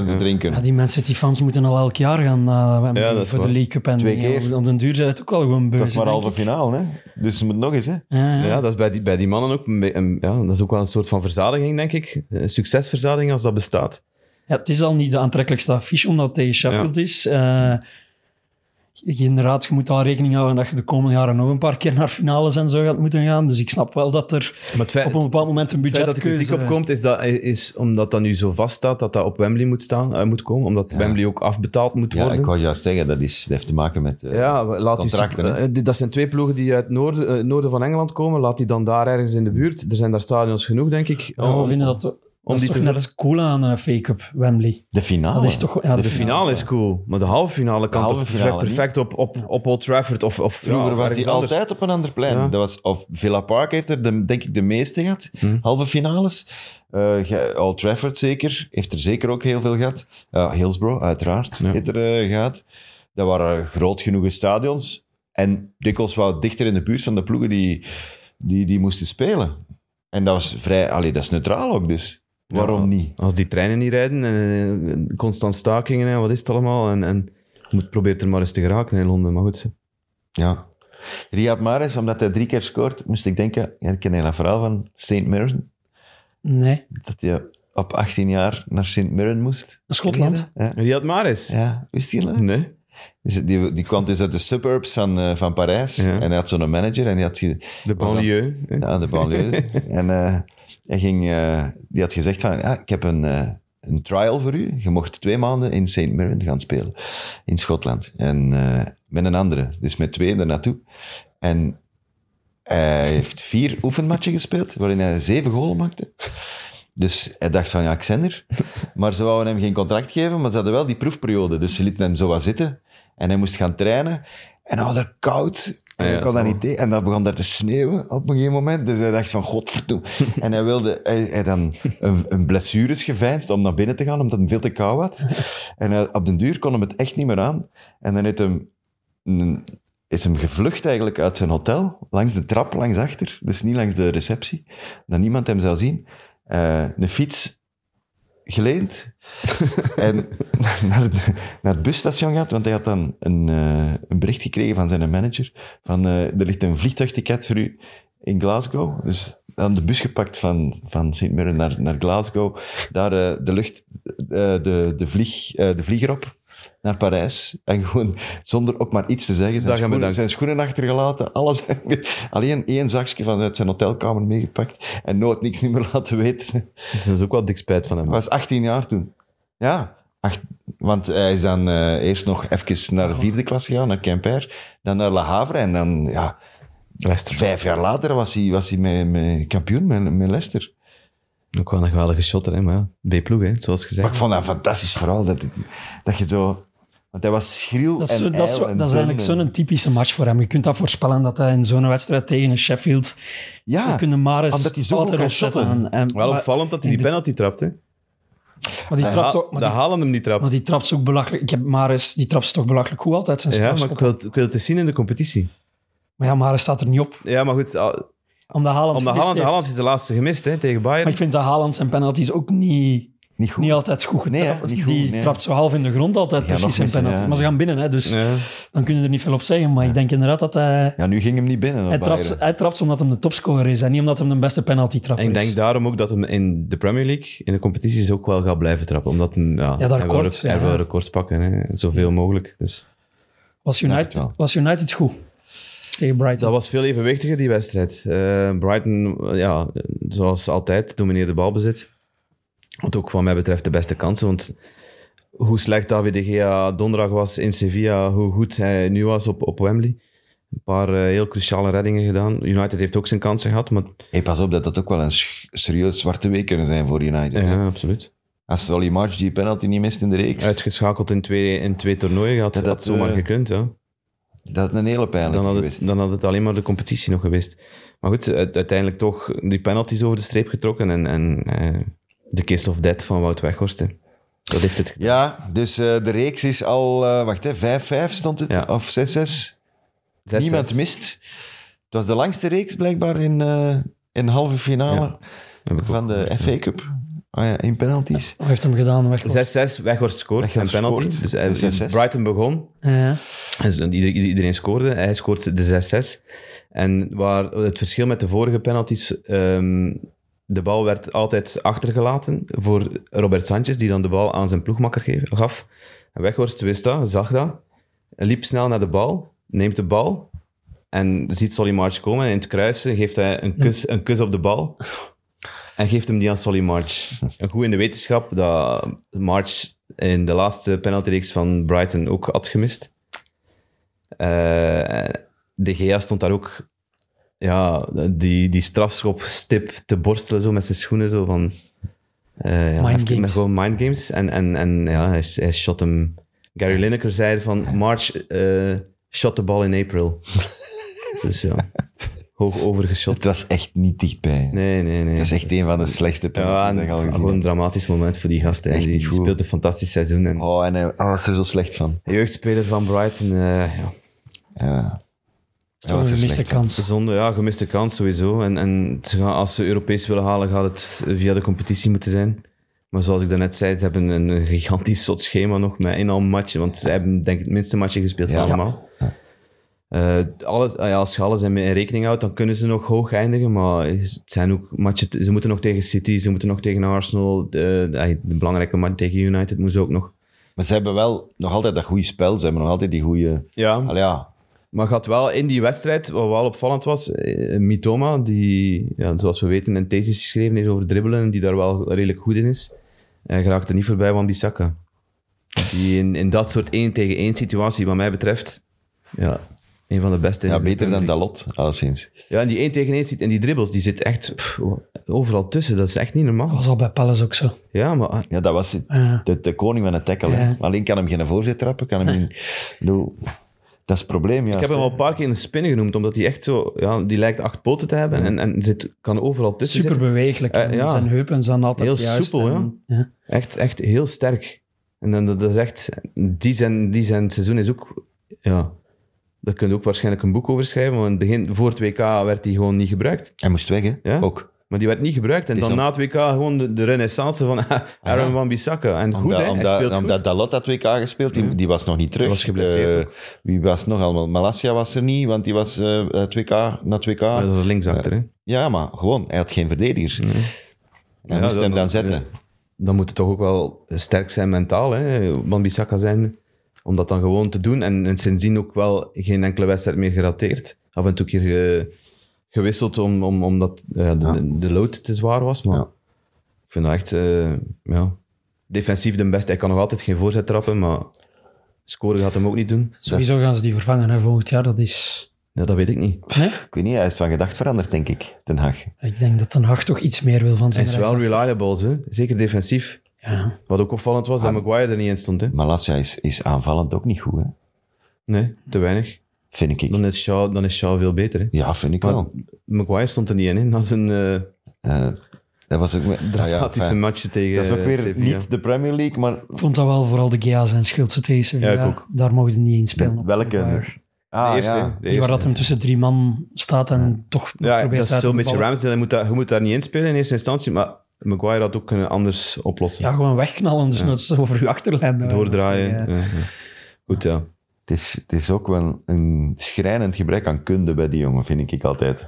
89.000
ja.
drinken.
Ja, die mensen, die fans moeten al elk jaar gaan naar Wembley
Ja, dat is
voor
waar.
de League Cup. En
Twee
ja,
keer.
Op den duur zijn het ook wel gewoon beuzen.
dat is maar
denk
halve
ik.
finale. Hè? Dus het moet nog eens. Hè?
Ja, ja.
ja, dat is bij die, bij die mannen ook... een be- een- ja, dat is ook wel een soort van verzadiging, denk ik. Een succesverzadiging als dat bestaat.
Ja, het is al niet de aantrekkelijkste affiche, omdat het tegen Sheffield is. Eh, je- inderdaad, je moet al rekening houden dat je de komende jaren nog een paar keer naar finales en zo gaat moeten gaan. Dus ik snap wel dat er
Maar het feit,
op een bepaald moment een
het feit dat de kritiek
budgetkeuze...
op komt, is, dat, is omdat dat nu zo vast staat dat dat op Wembley moet, staan, eh, moet komen. Omdat Wembley ook afbetaald moet
Ja,
worden.
ik wou juist zeggen, dat, is, dat heeft te maken met eh,
Ja, laat die
contracten.
sup-
hè.
eh, die- dat zijn twee ploegen die uit het noorden, eh, het noorden van Engeland komen. Laat die dan daar ergens in de buurt. Er zijn daar stadions genoeg, denk ik.
Ja, we vinden dat, dat is
die
toch
te
net cool aan een fake-up, Wembley.
De finale.
Dat is toch... Ja,
De finale is cool, maar de halve finale kan
De halve
toch
finale
perfect op, op, op Old Trafford of, of
Vroeger
ja,
was
ergens
die
anders.
altijd op een ander plein.
Ja.
Dat was, of Villa Park heeft er de, denk ik de meeste gehad.
Hm.
Halve finales. Eh, ge- Old Trafford zeker. Heeft er zeker ook heel veel gehad. Eh, Hillsborough, uiteraard,
Ja.
heeft er eh, gehad. Dat waren groot genoegen stadions. En dikwijls wel dichter in de buurt van de ploegen die, die, die moesten spelen. En dat was vrij... Allee, dat is neutraal ook dus. Waarom niet?
Als die treinen niet rijden en eh, constant stakingen en wat is het allemaal. En, en je moet probeert er maar eens te geraken in Londen, maar goed.
Ja. Riyad Mahrez, omdat hij drie keer scoort, moest ik denken... Ja, ik ken heel dat verhaal van St. Mirren.
Nee,
dat hij op 18 jaar naar Sint Mirren moest.
Schotland.
Ja,
Riyad Mahrez?
ja wist je dat?
Nee.
Dus Die, die kwam dus uit de suburbs van, eh, van Parijs.
Ja.
En hij had zo'n manager en die had ge-
De banlieue.
ja, aan de banlieue. en eh, hij ging, eh, die had gezegd van, ja, ik heb een, eh, een trial voor u. Je mocht twee maanden in St. Mirren gaan spelen. In Schotland. En eh, met een andere. Dus met twee ernaartoe. En hij heeft vier oefenmatchen gespeeld, waarin hij zeven goals maakte. Dus hij dacht van, ja, ik ben er. Maar ze wouden hem geen contract geven, maar ze hadden wel die proefperiode. Dus ze lieten hem zo wat zitten. En hij moest gaan trainen. En hij had er koud. En
Ah Ja,
hij kon dat
dat is
niet tegen. En dat begon daar te sneeuwen op een gegeven moment. Dus hij dacht van, godverdoe. en hij wilde... Hij, hij dan een, een blessure is geveinsd om naar binnen te gaan, omdat hij veel te koud had. En hij- op den duur kon hem het echt niet meer aan. En dan heeft hem een- is hem gevlucht eigenlijk uit zijn hotel, langs de trap, langs achter, dus niet langs de receptie, dat niemand hem zou zien, eh, een fiets geleend en naar het, naar het busstation gaat, want hij had dan een, eh, een bericht gekregen van zijn manager, van eh, er ligt een vliegtuigticket voor u in Glasgow, dus dan de bus gepakt van, van St. Mirren naar, naar Glasgow, daar eh, de lucht, eh, de, de, vlieg, eh, de vlieger op, naar Parijs. En gewoon zonder ook maar iets te zeggen. Zijn,
Dag en
schoenen,
bedankt.
zijn schoenen achtergelaten, alles. Alleen één zakje vanuit zijn hotelkamer meegepakt. En nooit niks niet meer laten weten.
Dus dat is ook wel dik spijt van hem.
Hij was 18 jaar toen. Ja, acht- want hij is dan eh, eerst nog even naar de vierde klas gegaan, naar Quimper. Dan naar La Havre. En dan, ja,
Leicester.
vijf jaar later was hij, was hij met, met kampioen met, met Leicester.
Ook wel een geweldige shotter, hè, maar ja. B-ploeg, hè, zoals
Maar ik
gezegd.
vond dat een fantastisch verhaal. Dat, dat je zo... Want hij was schriel
Dat is,
en
zo- dat is,
ijl
zo-
en
dat is
dun
eigenlijk
en-
zo'n typische match voor hem. Je kunt dat voorspellen dat hij in zo'n wedstrijd tegen een Sheffield...
Ja.
we kunnen Maris
omdat hij zo
altijd
goed kan
opzetten.
shotten.
En, en-
Wel
maar-
opvallend dat hij die penalty trapt, hè.
Maar die trapt
Ha-
ook... Maar
dat
die,
halen hem niet trapt.
maar die trapt ook belachelijk... Ik heb Maris, die trapt toch belachelijk goed altijd zijn
Ja,
strafschoppen.
maar ik wil, het- ik wil het eens zien in de competitie.
Maar ja, Maris staat er niet op.
Ja, maar goed, ah,
Omdat Haaland
omdat
gemist
Haaland,
heeft.
Haaland is de laatste gemist hè, tegen Bayern.
Maar ik vind dat Haaland zijn penalties ook niet...
Niet goed.
Niet altijd goed
Nee, hè,
getrapt.
niet goed,
die
nee.
trapt zo half in de grond altijd
Ja, nog
precies in
missen,
penalty.
ja.
Maar ze gaan binnen, hè, dus
Ja.
dan kun je er niet veel op zeggen. Maar ik denk inderdaad dat hij...
Ja, nu ging hem niet binnen. op
Hij trapt,
Bayern.
hij trapt omdat hem de topscorer is en niet omdat hem de beste penalty trapper
En ik
is.
denk daarom ook dat hem in de Premier League, in de competities, ook wel gaat blijven trappen. Omdat hem, ja,
dat
hij wil
record,
rec- hij
ja.
wil records pakken, hè. zoveel mogelijk. Dus.
was,
Snap het
United,
wel.
was United goed tegen Brighton?
Dat was veel evenwichtiger, die wedstrijd. Eh, Brighton, eh, ja, eh, zoals altijd, domineerde balbezit. Wat ook wat mij betreft de beste kansen. Want hoe slecht David de Gea donderdag was in Sevilla, hoe goed hij nu was op, op Wembley. Een paar eh, heel cruciale reddingen gedaan. United heeft ook zijn kansen gehad, maar...
Hey, pas op dat dat ook wel een sch- serieus zwarte week kunnen zijn voor United. hè.
Ja, absoluut.
Als Solly March die penalty niet mist in de reeks,
Uitgeschakeld in twee, in twee toernooien, had
Ja,
dat,
dat,
zomaar
eh,
gekund, ja.
dat is een hele pijnlijke
dan had,
geweest.
het, dan had het alleen maar de competitie nog geweest. Maar goed, u- uiteindelijk toch die penalties over de streep getrokken en, en eh, de kiss of death van Wout Weghorst. hè. Dat heeft het
Ja, dus eh, de reeks is al... eh, wacht, hè, 5-5 stond het?
Ja.
Of 6-6?
zes,
Niemand
zes.
mist. Het was de langste reeks blijkbaar in, eh in halve finale
Heb ik ook
van de
gehoord,
FA Cup. Ah ja, in penalties.
Wat heeft hem gedaan? Weg,
ja. 6-6, Weghorst scoort en
Weghorst
penalty.
scoort.
Dus hij-
Dus 6-6.
Brighton begon
Ja.
en zo- ieder- iedereen scoorde. Hij scoort de 6-6. En waar het verschil met de vorige penalties... ehm, de bal werd altijd achtergelaten voor Robert Sanchez, die dan de bal aan zijn ploegmakker ge- gaf. En Weghorst wist dat, zag dat, liep snel naar de bal, neemt de bal en ziet Solly March komen. En in het kruisen geeft hij een kus, een kus op de bal en geeft hem die aan Solly March. En goed in de wetenschap dat March in de laatste penaltyreeks van Brighton ook had gemist. Eh, de Gea stond daar ook ja, die, die strafschopstip te borstelen zo met zijn schoenen. Zo van, eh, ja,
Mind
heeft-
games.
Met gewoon mind games. En, en, en ja, hij, hij shot hem... Gary Lineker zei van, March eh, shot de bal in April. dus ja, hoog overgeshot.
Het was echt niet dichtbij. hè.
Nee, nee, nee.
Dat is echt een van de slechtste
ja,
penalties dat ik al
en
gezien
gewoon een
heb.
dramatisch moment voor die gasten. hè.
Echt
Die,
niet
die
goed.
speelt een fantastisch seizoen. En
Oh, en hij hij was er zo slecht van.
de jeugdspeler van Brighton, eh, ja,
Ja.
Dat was een gemiste kans.
Zonde, ja, gemiste kans sowieso. En, en ze gaan, als ze Europees willen halen, gaat het via de competitie moeten zijn. Maar zoals ik daarnet zei, ze hebben een, een gigantisch zot schema nog met in al matchen. Want ze hebben denk ik het minste matje gespeeld
Ja.
van allemaal. Eh, alles, ah ja, als je alles in in rekening houdt, dan kunnen ze nog hoog eindigen. Maar het zijn ook matchen, ze moeten nog tegen City, ze moeten nog tegen Arsenal. De, de, de belangrijke match tegen United moeten ze ook nog.
Maar ze hebben wel nog altijd dat goede spel. Ze hebben nog altijd die goede...
Ja,
Allee, ja.
Maar gaat wel in die wedstrijd, wat wel opvallend was, eh, Mitoma, die ja, zoals we weten een thesis geschreven heeft over dribbelen, en die daar wel redelijk goed in is, eh, geraakt er niet voorbij van Bissaka. Die in, in dat soort 1 tegen 1 situatie, wat mij betreft, ja, een van de beste.
ja,
is in de
beter dan
Premier
Dalot, alleszins.
League. Ja, en die 1 tegen 1 zit, en die dribbles, die zit echt pff, overal tussen. Dat is echt niet normaal.
Dat was al bij Palace ook zo.
Ja, maar ah,
Ja, dat was het.
Ja.
De, de koning van het tackle. hè.
Ja.
Alleen kan hem geen voorzet trappen. Kan hem geen... Ik bedoel, dat is het probleem, ja.
ik heb hem al een paar keer een spinnen genoemd, omdat hij echt zo, ja, die lijkt acht poten te hebben en, en Dus zit, kan overal tussen
Super
zitten.
beweeglijk.
Eh, ja.
Zijn heupen zijn altijd
Heel
juist.
soepel,
en- ja.
Echt, echt heel sterk. En dan, dat is echt... Die zijn, die zijn seizoen is ook... Ja, daar kun je ook waarschijnlijk een boek over schrijven. Want in het begin, voor het WK werd die gewoon niet gebruikt.
Hij moest weg, hè?
Ja?
Ook.
Maar die werd niet gebruikt. En
Die
dan
is
na het WK gewoon de, de renaissance van Aaron van Bissaka. En goed,
Omdat,
hè? Hij
omdat,
speelt
omdat
goed.
Dalot had WK gespeeld, die, die was nog niet terug.
was geblesseerd
Eh,
ook.
wie was nog allemaal? Malasia was er niet, want die was eh het WK, na het WK.
Ja, dat was linksachter, hè.
Ja, maar gewoon, hij had geen verdedigers. Hij
Ja,
moest
dat-
hem dan
dat-
zetten.
Dan moet het toch ook wel sterk zijn mentaal, hè? Van Bissaka zijn. Om dat dan gewoon te doen. En, en sindsdien ook wel geen enkele wedstrijd meer gerateerd. Af en toe een keer ge- gewisseld om, om, omdat ja, de, de, de lood te zwaar was. Maar
Ja.
ik vind dat echt... eh, ja, defensief de beste. Hij kan nog altijd geen voorzet trappen, maar scoren gaat hem ook niet doen.
Sowieso gaan ze die vervangen hè, volgend jaar. Dat is...
Ja, dat weet ik niet.
Nee?
Ik weet niet, hij is van gedacht veranderd, denk ik, Ten Hag.
Ik denk dat Ten Hag toch iets meer wil van
Hij
zijn
is wel
rechtsachter.
reliable, hè? zeker defensief.
Ja.
Wat ook opvallend was, dat Maguire er niet in stond. Hè?
Malasia is, is aanvallend ook niet goed, hè?
Nee, te weinig.
vind ik.
Dan is Shaw, dan is Shaw veel beter. Hè?
Ja, vind ik wel.
Maguire stond er niet in, hè? na zijn eh
Eh, dat was ook... Ah, ja,
dramatische
fijn.
match tegen
dat is ook weer
eh, Sevilla.
niet de Premier League, maar
Ik vond dat wel vooral de Gea zijn schuld ze tegen Sevilla.
Ja, ik ook.
Daar mogen ze niet in spelen. op
welke?
elkaar.
De
Ah,
eerste, hè, de
ja.
eerste.
Die waar dat hem tussen drie man staat en toch
ja,
probeert
dat is
uit te
zo'n beetje
ballen.
Ramsdale. Je moet, daar, je moet daar niet inspelen in eerste instantie, maar Maguire had ook kunnen anders oplossen.
Ja, gewoon wegknallen, dus nooit zo over uw achterlijn. eh, dus, bij wijze van
Doordraaien.
spreken.
ja, ja. Goed, ja.
Het is, het is ook wel een schrijnend gebrek aan kunde bij die jongen, vind ik altijd.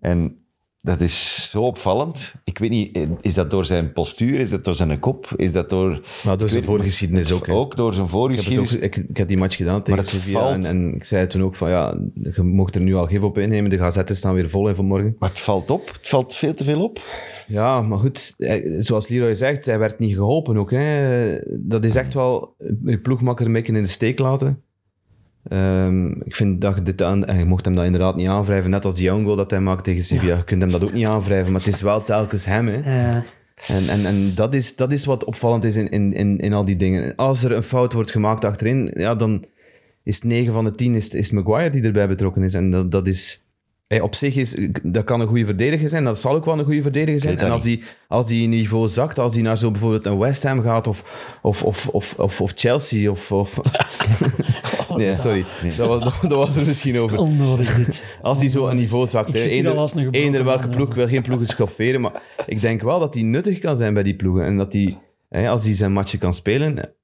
En dat is zo opvallend. Ik weet niet, eh, is dat door zijn postuur, is dat door zijn kop, is dat door...
Maar door
Ik
zijn
weet-
voorgeschiedenis ook. hè.
Ook door zijn
Ik heb, het ook,
voorgeschiedenis.
ik, ik heb die match gedaan tegen
het
Sevilla
valt-
en, en ik zei toen ook van ja, je mocht er nu al gif op innemen, de gazetten staan weer vol hè, vanmorgen.
Maar het valt op. Het valt veel te veel op.
Ja, maar goed, hij- zoals Leroy zegt, hij werd niet geholpen ook. Hè. Dat is echt wel je ploegmakker een beetje in de steek laten. Ehm, ik vind dat je dit aan... en Je mocht hem dat inderdaad niet aanwrijven, net als die own goal dat hij maakt tegen Sevilla. Je kunt hem dat ook niet aanwrijven, maar het is wel telkens hem. Hè.
Eh,
En, en, en dat, is, dat is wat opvallend is in, in, in, in al die dingen. Als er een fout wordt gemaakt achterin, ja, dan is 9 van de 10 is, is Maguire die erbij betrokken is. En dat, dat is... Hey, op zich is, dat kan een goede verdediger zijn, dat zal ook wel een goede verdediger zijn.
weet
En
dat
als die, als die niveau zakt, als die naar zo bijvoorbeeld een West Ham gaat of, of, of, of, of, of Chelsea of... of... nee, sorry. Dat, was, dat, dat was er misschien over.
onnodig dit.
Als die zo een niveau zakt.
Ik
hè.
zit hier
Eender-
al als een gebroken
eender welke
man,
ploeg, ik wil geen ploegen schofferen, maar ik denk wel dat hij nuttig kan zijn bij die ploegen. En dat hij, hè, als hij zijn matje kan spelen,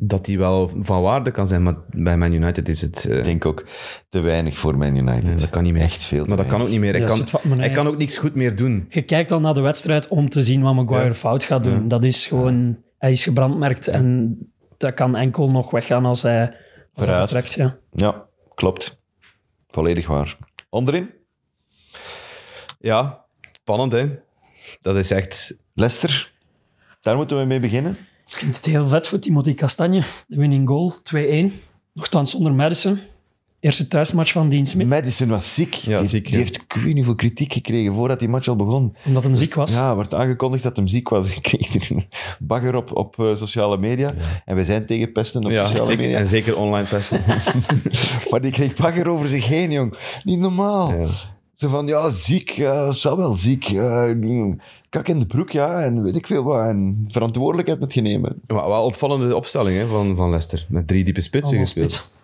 dat hij wel van waarde kan zijn. Maar bij Man United is het... eh,
Ik denk ook te weinig voor Man United.
nee, dat kan niet meer.
Echt veel te
Maar dat kan ook
weinig.
niet
Ja,
meer. Hij, kan,
zit wat- maar
hij
nee.
kan ook niks goed meer doen.
Je kijkt al naar de wedstrijd om te zien wat Maguire
Ja.
fout gaat doen.
Ja.
Dat is gewoon... Hij is gebrandmerkt en dat kan enkel nog weggaan als hij, als hij
Verhuisd.
vertrekt. Ja.
Ja, klopt. Volledig waar. Onderin,
Ja, spannend hè. Dat is echt...
Leicester. Daar moeten we mee beginnen.
Ik vind het heel vet voor Timothy Castagne. De winning goal, 2-1. Nochtans zonder Madison. Eerste thuismatch van Dean Smith,
Madison was ziek.
Ja,
die,
ziek,
die
ja.
heeft ik weet niet veel kritiek gekregen voordat die match al begon.
omdat hij ziek was.
Ja, er werd aangekondigd dat hem ziek was. Ik kreeg er een bagger op, op eh, sociale media. En wij zijn tegen pesten op
Ja,
sociale
zeker-
media.
en zeker online pesten.
Maar die kreeg bagger over zich heen, jong. Niet normaal.
Ja.
Ze van, ja, ziek, eh zou wel ziek. eh, mm, kak in de broek, ja, en weet ik veel wat. En verantwoordelijkheid moet je nemen.
Maar wel opvallende opstelling hè, van, van Leicester. Met drie diepe spitsen
Allemaal
gespeeld.
spits.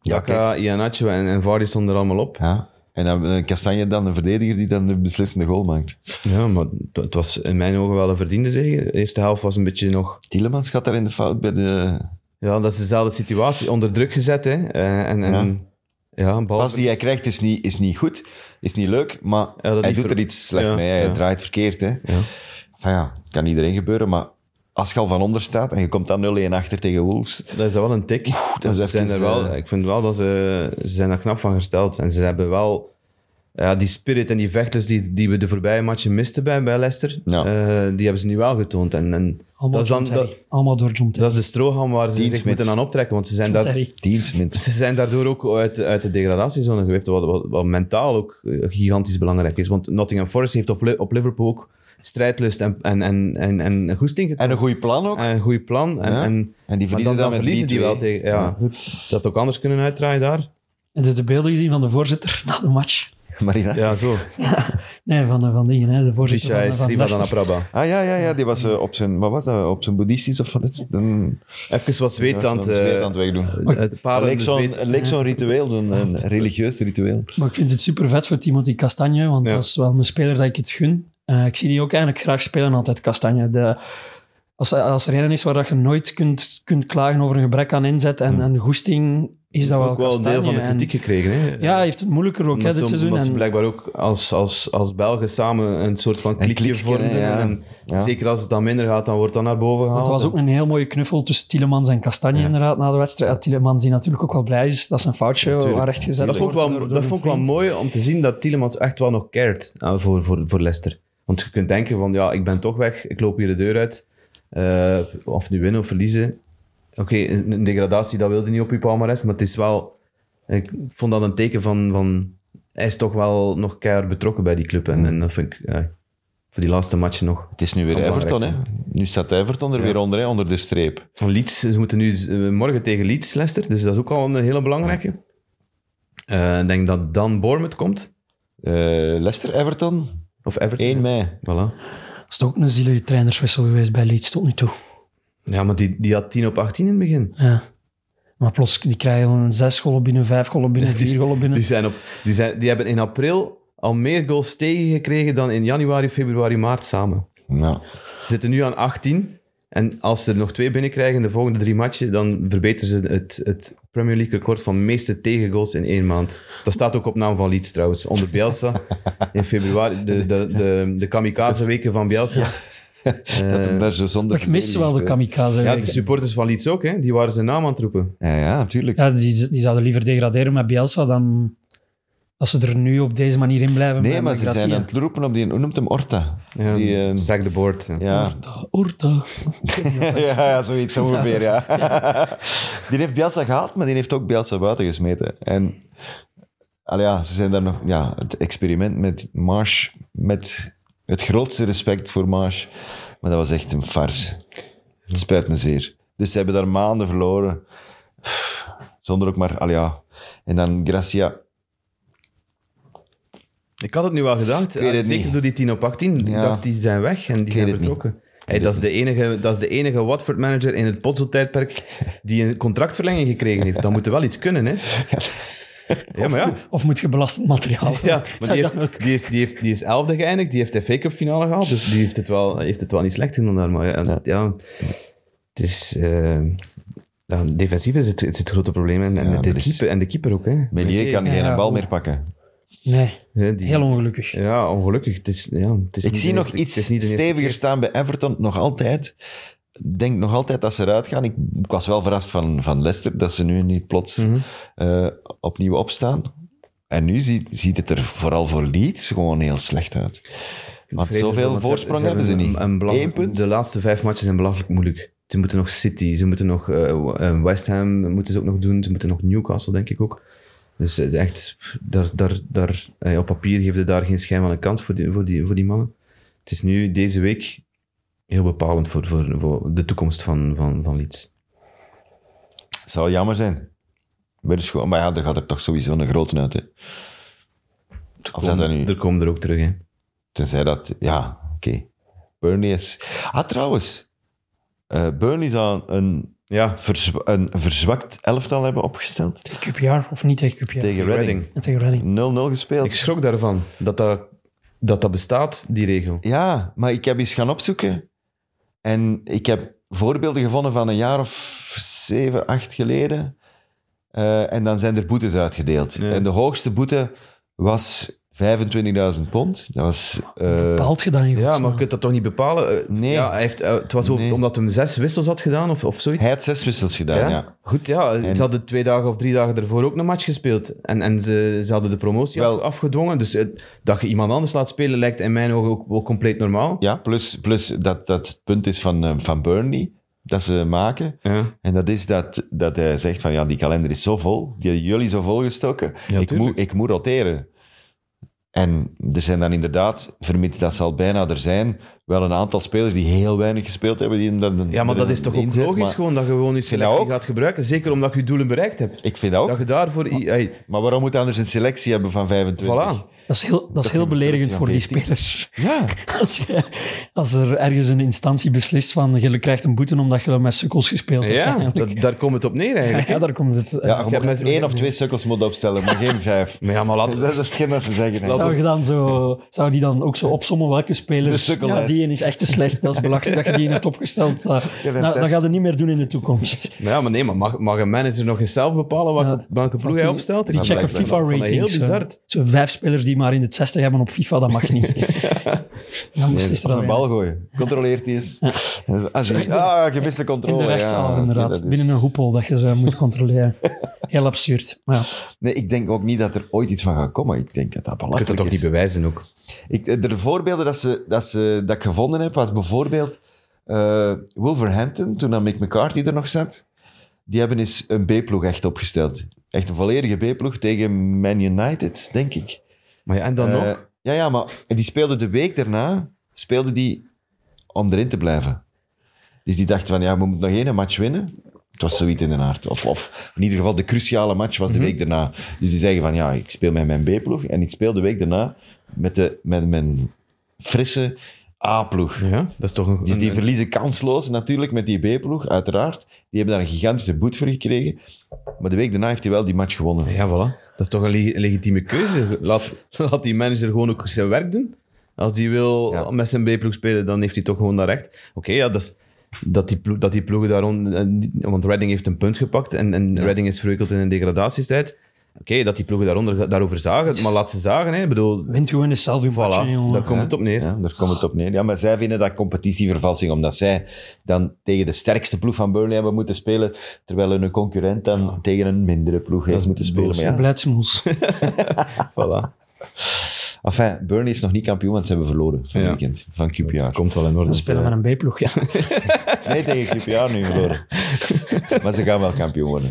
Ja, kijk.
Jaka, Iannaccio en, en Vardy stonden er allemaal op.
Ja. En dan eh, Castagne dan een verdediger die dan de beslissende goal maakt.
Ja, maar het- het was in mijn ogen wel een verdiende zege. De eerste helft was een beetje nog...
Tielemans gaat daar in de fout bij de
Ja, dat is dezelfde situatie. Onder druk gezet, hè. Eh, En, en, ja. een bal...
pas die hij krijgt is niet, is niet goed, is niet leuk, maar
dat
hij
niet
doet
ver-
er iets slecht
Ja,
mee. Hij
ja.
draait verkeerd. Hè.
Ja.
Enfin ja, kan iedereen gebeuren, maar als je al van onder staat en je komt dan 0-1 achter tegen Wolves,
Dat is wel een tik.
dat is
ze
even,
zijn er wel,
eh,
ik vind wel dat ze... Ze zijn daar knap van gesteld. En ze hebben wel... Ja, die spirit en die vechters die, die we de voorbije matchen misten bij, bij Leicester,
Ja.
eh, die hebben ze nu wel getoond. En, en
Allemaal,
dat, is
John
dan,
Terry.
dat,
Allemaal door John Terry.
dat is de strohalm waar ze
Dean
zich
Smith.
moeten aan optrekken, want ze zijn
John
daar...
Terry.
dienstmint.
Ze zijn daardoor ook uit, uit de degradatiezone gewipt, wat, wat, wat mentaal ook eh, gigantisch belangrijk is. Want Nottingham Forest heeft op, Li- op Liverpool ook strijdlust en, en, en, en, en goesting getoond.
En een goed plan ook.
En een goed plan. En,
Ja.
en,
En die
maar
verliezen dan, met
verliezen die
3-2.
wel tegen... Ja,
Ja.
goed. Dat ook anders kunnen uitdraaien daar.
En de, de beelden gezien van de voorzitter na de match.
Marina.
Ja, zo.
Nee, van, eh, van dingen, hè. de voorzitter
Richa
van,
is
van
Riva dan
Leicester.
Apraba.
Ah ja, ja, ja, die was eh, op zijn, wat was dat, op zijn boeddhistisch of wat? is het? Een-
Even wat
die was
zweet aan het...
zo'n zweet aan
eh,
het wegdoen.
Het
Het
paar
leek zo'n
zweet.
het leek zo'n ritueel, zo'n een religieus ritueel.
Maar ik vind het super vet voor Timothy Castagne, want
Ja.
dat is wel een speler dat ik het gun. Eh, ik zie die ook eigenlijk graag spelen, altijd Castagne. De, als, als er een is waar dat je nooit kunt, kunt klagen over een gebrek aan inzet en, en goesting, is dat wel
Ook wel een deel van de
Castagne. En-
kritiek gekregen, hè.
ja, hij heeft het moeilijker ook hè,
Omdat
dit
ze-
seizoen.
omdat ze
En,
blijkbaar ook als, als, als Belgen samen een soort van klikje
kliksken, hè,
vormen.
ja.
En
Ja.
Zeker als het dan minder gaat, dan wordt dat naar boven gehaald.
want er was ook een heel mooie knuffel tussen Tielemans en Castagne inderdaad na de wedstrijd. Ja, Tielemans die natuurlijk ook wel blij is dat zijn foutje waar recht gezet
dat vond ik
wordt
wel,
door- door
dat
een
vond ik wel
vriend.
mooi om te zien dat Tielemans echt wel nog cared eh, voor, voor, voor Leicester. Want je kunt denken van, ja, ik ben toch weg, ik loop hier de deur uit. Eh, of nu winnen of verliezen. Oké, een een degradatie, dat wilde niet op je palmarès, maar het is wel... Ik vond dat een teken van... van hij is toch wel nog keihard betrokken bij die club. En, en dat vind ik... eh, voor die laatste matchen nog.
Het is nu weer
Kan
Everton, hè.
belangrijk
Nu staat Everton er weer onder, hè, onder de streep.
Van Leeds, ze moeten nu eh, morgen tegen Leeds, Leicester. Dus dat is ook al een hele belangrijke. Eh, ik denk dat dan Bournemouth komt.
Eh, Leicester, Everton,
Of Everton.
1 mei.
Voilà.
Dat is toch ook een zielige trainerswissel geweest bij Leeds tot nu toe.
Ja, maar die, die had 10 op 18 in het begin.
Ja. Maar plots, die krijgen gewoon zes golven binnen, vijf golven binnen,
Die-
vier golven binnen.
Die, zijn op, die, zijn, die hebben in april al meer goals tegengekregen dan in januari, februari, maart samen.
Ja.
Ze zitten nu aan 18. En als ze er nog twee binnenkrijgen in de volgende drie matchen, dan verbeteren ze het, het Premier League record van meeste tegengoals in één maand. Dat staat ook op naam van Leeds trouwens. Onder Bielsa in februari, de, de, de, de kamikaze-weken van Bielsa.
Dat hem
Eh,
daar zo zonder...
Ik mis wel de
verdediging
kamikaze.
ja,
Ja,
de supporters van Leeds ook, hè? die waren zijn naam aan het roepen.
speelt. Ja, ja, natuurlijk.
ja, die, die zouden liever degraderen met Bielsa dan dat ze er nu op deze manier in blijven.
Nee, maar
met- met
ze zijn
Gracia.
aan het roepen op die... Hoe noemt hem? Orta?
Ja,
Die, eh,
Sack de board. Ja.
Ja.
Orta, Orta.
ja, ja, zoiets ongeveer, ja. Die heeft Bielsa gehaald, maar die heeft ook Bielsa buiten gesmeten. En al ja, ze zijn daar nog... Ja, het experiment met Marsh, met het grootste respect voor Marsh, maar dat was echt een farce. Het spijt me zeer. Dus ze hebben daar maanden verloren. Zonder ook maar... Al ja. En dan Gracia...
Ik had het nu wel gedacht. Ah,
weet het
Zeker
niet.
door die 10 op 18. Ik
Ja.
dacht, die zijn weg en die zijn
het niet.
vertrokken. Hey, dat, is de enige, dat is de enige Watford-manager in het Potso-tijdperk die een contractverlenging gekregen heeft. Dan moet er wel iets kunnen, hè? Ja, maar ja.
Of moet je belastend materiaal?
Ja, maar die, heeft,
kan ook.
die, is, die, heeft, die is elfde geëindigd, die heeft de FA Cup finale gehaald, dus die heeft het wel, heeft het wel niet slecht gedaan daar. Maar ja, ja. het is... eh, ja, defensief is het, is het grote probleem. En, en
Ja,
met de
er is-
keeper, en de keeper ook, hè.
Melier kan
Ja,
geen
ja.
bal meer pakken.
Nee,
Ja, die-
heel ongelukkig.
Ja, ongelukkig. Het is, ja, het is
Ik
niet
zie
de
nog
eerste- het
iets
is niet de eerste
steviger staan bij Everton, nog altijd. Ik denk nog altijd dat ze eruit gaan. Ik, ik was wel verrast van, van Leicester, dat ze nu niet plots
Mhm.
eh, opnieuw opstaan. En nu zie- ziet het er vooral voor Leeds gewoon heel slecht uit. Want
vrees ervoor,
zoveel
want
voorsprong hebben ze
een-
niet.
een- een belang-
Eén punt.
De laatste vijf matches zijn belachelijk moeilijk. Ze moeten nog City, ze moeten nog eh, w- eh, West Ham moeten ze ook nog doen. Ze moeten nog Newcastle, denk ik ook. Dus het is echt, daar, daar, daar, eh, op papier geeft het daar geen schijn van een kans voor die, voor, die, voor die mannen. Het is nu deze week heel bepalend voor, voor, voor de toekomst van, van, van Leeds.
Zou jammer zijn. Weer eens gewoon- Maar ja, er gaat er toch sowieso een grote uit. Hè. Of dat dan nu...
Er komen er ook terug, hè.
Tenzij dat, ja, oké. Burnley is. Ah, trouwens. Eh, Burnley zou een,
Ja,
verzwa- een verzwakt elftal hebben opgesteld.
Tegen QPR of niet tegen QPR?
tegen Reading.
Reading.
En tegen
0-0
Reading.
gespeeld.
Ik schrok daarvan, dat dat, dat, dat bestaat, die regel.
Ja, maar ik heb eens gaan opzoeken. En ik heb voorbeelden gevonden van een jaar of zeven, acht geleden. Eh, en dan zijn er boetes uitgedeeld.
Ja.
En de hoogste boete was 25.000 pond. Dat was... eh,
Bepaald gedaan, in
Ja, maar
godsnaam.
je kunt dat toch niet bepalen? Eh,
Nee.
Ja, hij heeft, eh, het was ook
Nee.
omdat hij zes wissels had gedaan of, of zoiets.
hij had zes wissels gedaan, ja.
Goed, ja.
En-
Ze hadden twee dagen of drie dagen daarvoor ook een match gespeeld. En, en ze, ze hadden de promotie
Wel-
af- afgedwongen. Dus eh, dat je iemand anders laat spelen lijkt in mijn ogen ook wel compleet normaal.
Ja, plus, plus dat, dat het punt is van, eh, van Burnley, dat ze maken.
Ja.
En dat is dat, dat hij zegt van, ja, die kalender is zo vol. Die hebben jullie zo vol gestoken.
Ja,
ik, moet,
tuurlijk.
ik moet roteren. En er zijn dan inderdaad, vermits dat zal bijna er zijn, wel een aantal spelers die heel weinig gespeeld hebben. Die hem dan
ja, maar dat
erin-
is toch ook
inzet,
logisch
maar
gewoon dat je gewoon je
vind dat
selectie
ook.
gaat gebruiken. Zeker omdat je je doelen bereikt hebt.
Ik vind dat ook.
Dat je daarvoor... i- hey,
Maar waarom moet je anders een selectie hebben van 25?
voilà.
Dat is heel, dat is heel
vind ik
beledigend voor die
selectie van
spelers.
Ja,
Als, je- als er ergens een instantie beslist van je krijgt een boete omdat je met sukkels gespeeld hebt.
Ja,
eigenlijk.
dat- daar komt het op neer eigenlijk.
ja, daar komt het.
ja je
heb
moet
net-
één of twee sukkels moet opstellen, maar geen vijf.
Maar ja, maar laat,
Dat is hetgeen dat ze zeggen. hè.
zou, je dan zo, zou die dan ook zo opzommen welke spelers...
De sukkellijst.
ja, die een is echt te slecht. Dat is belachelijk dat je die een hebt opgesteld. Eh, nou,
test.
dat gaat het niet meer doen in de toekomst.
Maar ja, maar nee, maar mag, mag een manager nog eens zelf bepalen wat,
Ja.
welke ploeg hij
die-
opstelt?
Die
Ik
checken
blijkt wel.
vond dat
FIFA-ratings.
Heel bizar.
Zo vijf spelers die maar in de 60 hebben op FIFA, dat mag niet. Dan beslist er
Of
dan
een
weer.
bal gooien. Controleert die eens. Ah, zie- ah, gemiste
In
controle.
de rechtszaal,
ja.
inderdaad.
Dat is-
Binnen een hoepel dat je ze moet controleren. Heel absurd. Maar ja,
Nee, ik denk ook niet dat er ooit iets van gaat komen. Ik denk dat dat
Je kunt
belachelijk
dat ook niet
is.
bewijzen ook.
Ik, eh, de voorbeelden dat, ze, dat, ze, dat ik gevonden heb, was bijvoorbeeld eh, Wolverhampton, toen dan Mick McCarthy er nog zat. Die hebben eens een B-ploeg echt opgesteld. Echt een volledige B-ploeg tegen Man United, denk ik.
Maar ja, en dan
Eh,
nog?
Ja, ja, maar die speelde de week daarna speelde die om erin te blijven. Dus die dacht van, ja, we moeten nog één match winnen. Het was zoiets in de aard. Of, of in ieder geval, de cruciale match was de
Mhm.
week daarna. Dus die zeggen van, ja, ik speel met mijn B-ploeg en ik speel de week daarna met, de, met mijn frisse A-ploeg.
Ja, dat is toch een...
Dus die
een-
verliezen kansloos natuurlijk met die B-ploeg, uiteraard. Die hebben daar een gigantische boet voor gekregen. Maar de week daarna heeft hij wel die match gewonnen.
ja, voilà. Dat is toch een le- legitieme keuze. Laat, laat die manager gewoon ook zijn werk doen. Als hij wil
Ja.
met zijn B-ploeg spelen, dan heeft hij toch gewoon dat recht. Oké, ja, dat, is, dat, die ploeg, dat die ploegen daarom... eh, niet- Want Redding heeft een punt gepakt en, en Redding is verwikkeld in een degradatiestijd. Oké, dat die ploegen daaronder, daarover zagen, maar laat ze zagen. Hè. Ik bedoel,
Wint gewoon is zelf uw match, hè,
voilà,
jongen.
daar komt het op neer.
Ja, daar komt het op neer. Ja, maar zij vinden dat competitievervalsing, omdat zij dan tegen de sterkste ploeg van Burnley hebben moeten spelen, terwijl hun concurrent dan tegen een mindere ploeg heeft moeten spelen. Maar ja,
Beleidsmoes.
Voilà.
enfin, Burnley is nog niet kampioen, want ze hebben verloren van
Ja.
weekend van
Dat
QPR.
komt wel in orde.
We spelen met een B-ploeg, ja.
Nee, tegen QPR nu verloren. maar ze gaan wel kampioen worden.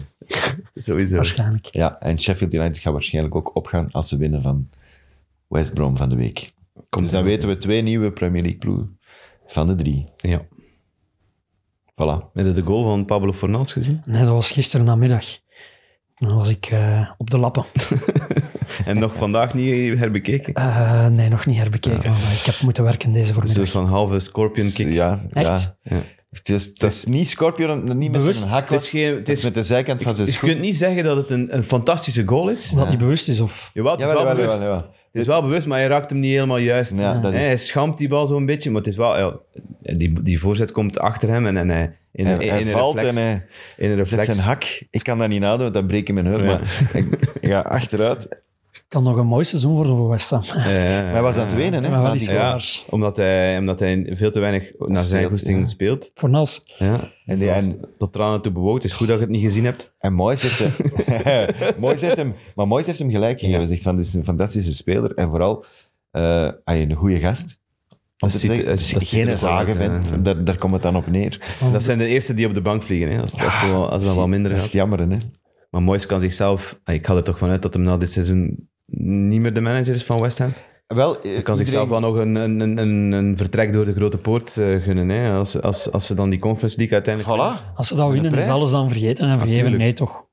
Sowieso.
Waarschijnlijk.
Ja, en Sheffield United gaat waarschijnlijk ook opgaan als ze winnen van West Brom van de week. dus dan weten we twee nieuwe Premier League ploegen van de drie.
Ja.
Voilà.
Heb je de goal van Pablo Fornals gezien?
Nee, dat was gisteren namiddag. Dan was ik eh, op de lappen.
En nog vandaag niet herbekeken.
Eh, nee, nog niet herbekeken, maar ik heb moeten werken deze
Een soort
voormiddag.
van halve scorpion kick.
Ja,
Echt?
Ja. Het is, het is niet Scorpion, niet met
Bewust,
zijn hak.
het is
was.
geen- het
Het is
is-
met de zijkant van zijn
Dus je
schoen.
kunt niet zeggen dat het een, een fantastische goal is.
Omdat het niet bewust is, of...
Jawel, het is wel
Jawel, jawel,
bewust.
jawel, jawel.
Het is wel bewust, maar je raakt hem niet helemaal juist.
Ja, dat
Hè, Hij
is,
schampt die bal zo'n beetje, maar het is wel... Ja, die, die voorzet komt achter hem en, en hij... In,
hij,
in- in
hij
een
valt
reflex,
en hij
in een
zet
reflex.
zijn hak. Ik kan dat niet nadoen, want dan breek ik mijn heup.
Ja.
Maar ik, ik ga achteruit. Maar
kan nog een mooi seizoen worden voor West Ham.
Ja, ja, ja.
hij was aan het wenen, hè?
Maar wel
na
die
die
Ja,
scores.
omdat hij, omdat hij veel te weinig naar zijn
Speelt,
goesting
ja.
speelt.
Voor Nels.
Ja.
En die- en-
Tot tranen toe bewoog. Het is goed dat je het niet gezien hebt.
En Moyes heeft, hem, Moyes heeft hem... Maar Moyes heeft hem gelijk gegeven. Hij zegt van, dit is een fantastische speler. En vooral, eh, hij is een goede gast. Om
Dat
te
ziet-
zeggen,
dat
het is
ziet er wel
geen
uit,
zagenvent.
ja, ja.
Daar, daar komt het dan op neer.
Dat zijn de eerste die op de bank vliegen, hè, als, als, zo, als dat wel minder
Dat is
gaat.
het jammer, hè.
Maar Moyes kan zichzelf... ah, Ik ga er toch vanuit dat hem na dit seizoen niet meer de manager is van West Ham.
Wel, eh,
Hij kan zichzelf wel nog een, een, een- een, een vertrek door de grote poort eh, gunnen. Hè, als, als, als ze dan die Conference League uiteindelijk...
Voilà.
Als ze dat winnen, is
prijs?
alles dan vergeten en vergeven.
tuurlijk.
Nee, toch.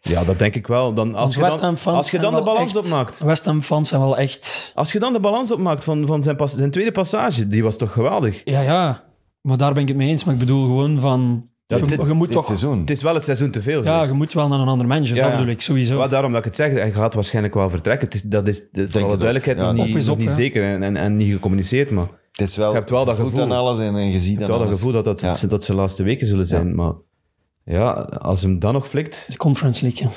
Ja, dat denk ik wel. Dan, als,
Als
je
West
dan,
Ham fans
als je dan de
zijn wel
balans
echt-
opmaakt.
West Ham fans zijn wel echt...
Als je dan de balans opmaakt van, van zijn, pas, zijn tweede passage, die was toch geweldig?
Ja, ja. Maar daar ben ik het mee eens. Maar ik bedoel gewoon van... je,
Dit-
je moet
dit
toch...
seizoen.
Het is wel het seizoen te veel
Ja,
geweest.
je moet wel naar een ander manager.
Ja,
dat
ja.
bedoel ik, sowieso.
Maar daarom dat ik het zeg, hij gaat waarschijnlijk wel vertrekken. Het is, dat is de, voor
het
alle
ook.
duidelijkheid
Ja,
nog
dat-
niet,
Op is
nog
op,
niet
hè.
zeker en, en, en niet gecommuniceerd. Maar ik
Het is wel...
Je hebt wel dat
je voelt
gevoel.
aan alles en, en je ziet
heb
aan
wel dat
alles.
gevoel dat dat,
Ja.
dat, ze, dat ze laatste weken zullen zijn. Maar ja, als hem dan nog flikt...
De Conference League, ja.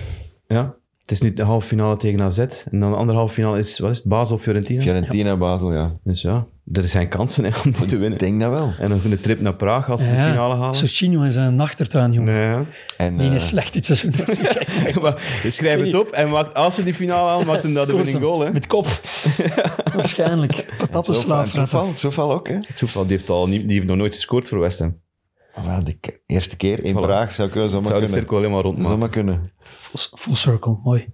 Ja. Het is nu de halve finale tegen AZ. En dan de andere halve finale is, wat is het, Basel of Fiorentina?
Fiorentina, Basel, ja.
Dus ja, er zijn kansen hè, om die te
Ik
winnen.
denk dat wel.
En nog een trip naar Praag als ze de
Ja.
finale halen.
Socino is een achtertuin, jongen.
Nee, ja.
En,
Die
eh,
is slecht dit seizoen.
Maar Dus schrijf het op en maakt, als ze die finale halen, maakt hem dat de
Scoort
winning
hem.
goal. Hè.
Met kop. Waarschijnlijk.
Zo
Patatenslaaf.
toeval, het toeval ook, hè?
Het Toeval, die heeft, al niet, die heeft nog nooit gescoord voor West Ham.
Voilà, de k- eerste keer in
Voilà.
Praag zou ik wel
Het zou
zomaar
de
kunnen.
cirkel helemaal rondmaken.
Zomaar kunnen.
Full, full circle, mooi.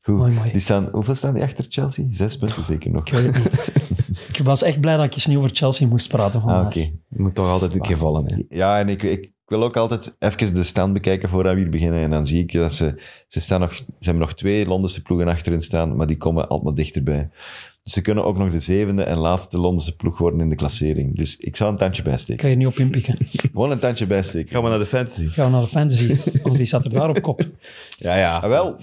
Goed.
Mooi, mooi.
Die staan, hoeveel staan die achter Chelsea? Zes punten zeker nog.
Ik weet het niet. ik was echt blij dat ik eens niet over Chelsea moest praten vandaag.
Ah, oké.
Je moet toch altijd een keer vallen. Hè.
Ja, en ik, ik wil ook altijd even de stand bekijken voordat we hier beginnen. En dan zie ik dat ze... Ze, staan nog, ze hebben nog twee Londense ploegen achterin staan, maar die komen altijd maar dichterbij. Dus ze kunnen ook nog de zevende en laatste Londense ploeg worden in de klassering. Dus ik zou een tandje
Ik
bijsteken.
kan je niet op inpikken.
Gewoon een tandje bijsteken.
Gaan we naar de fantasy?
Gaan we naar de fantasy. Want die staat er daar op kop.
Ja, ja.
Ah, wel,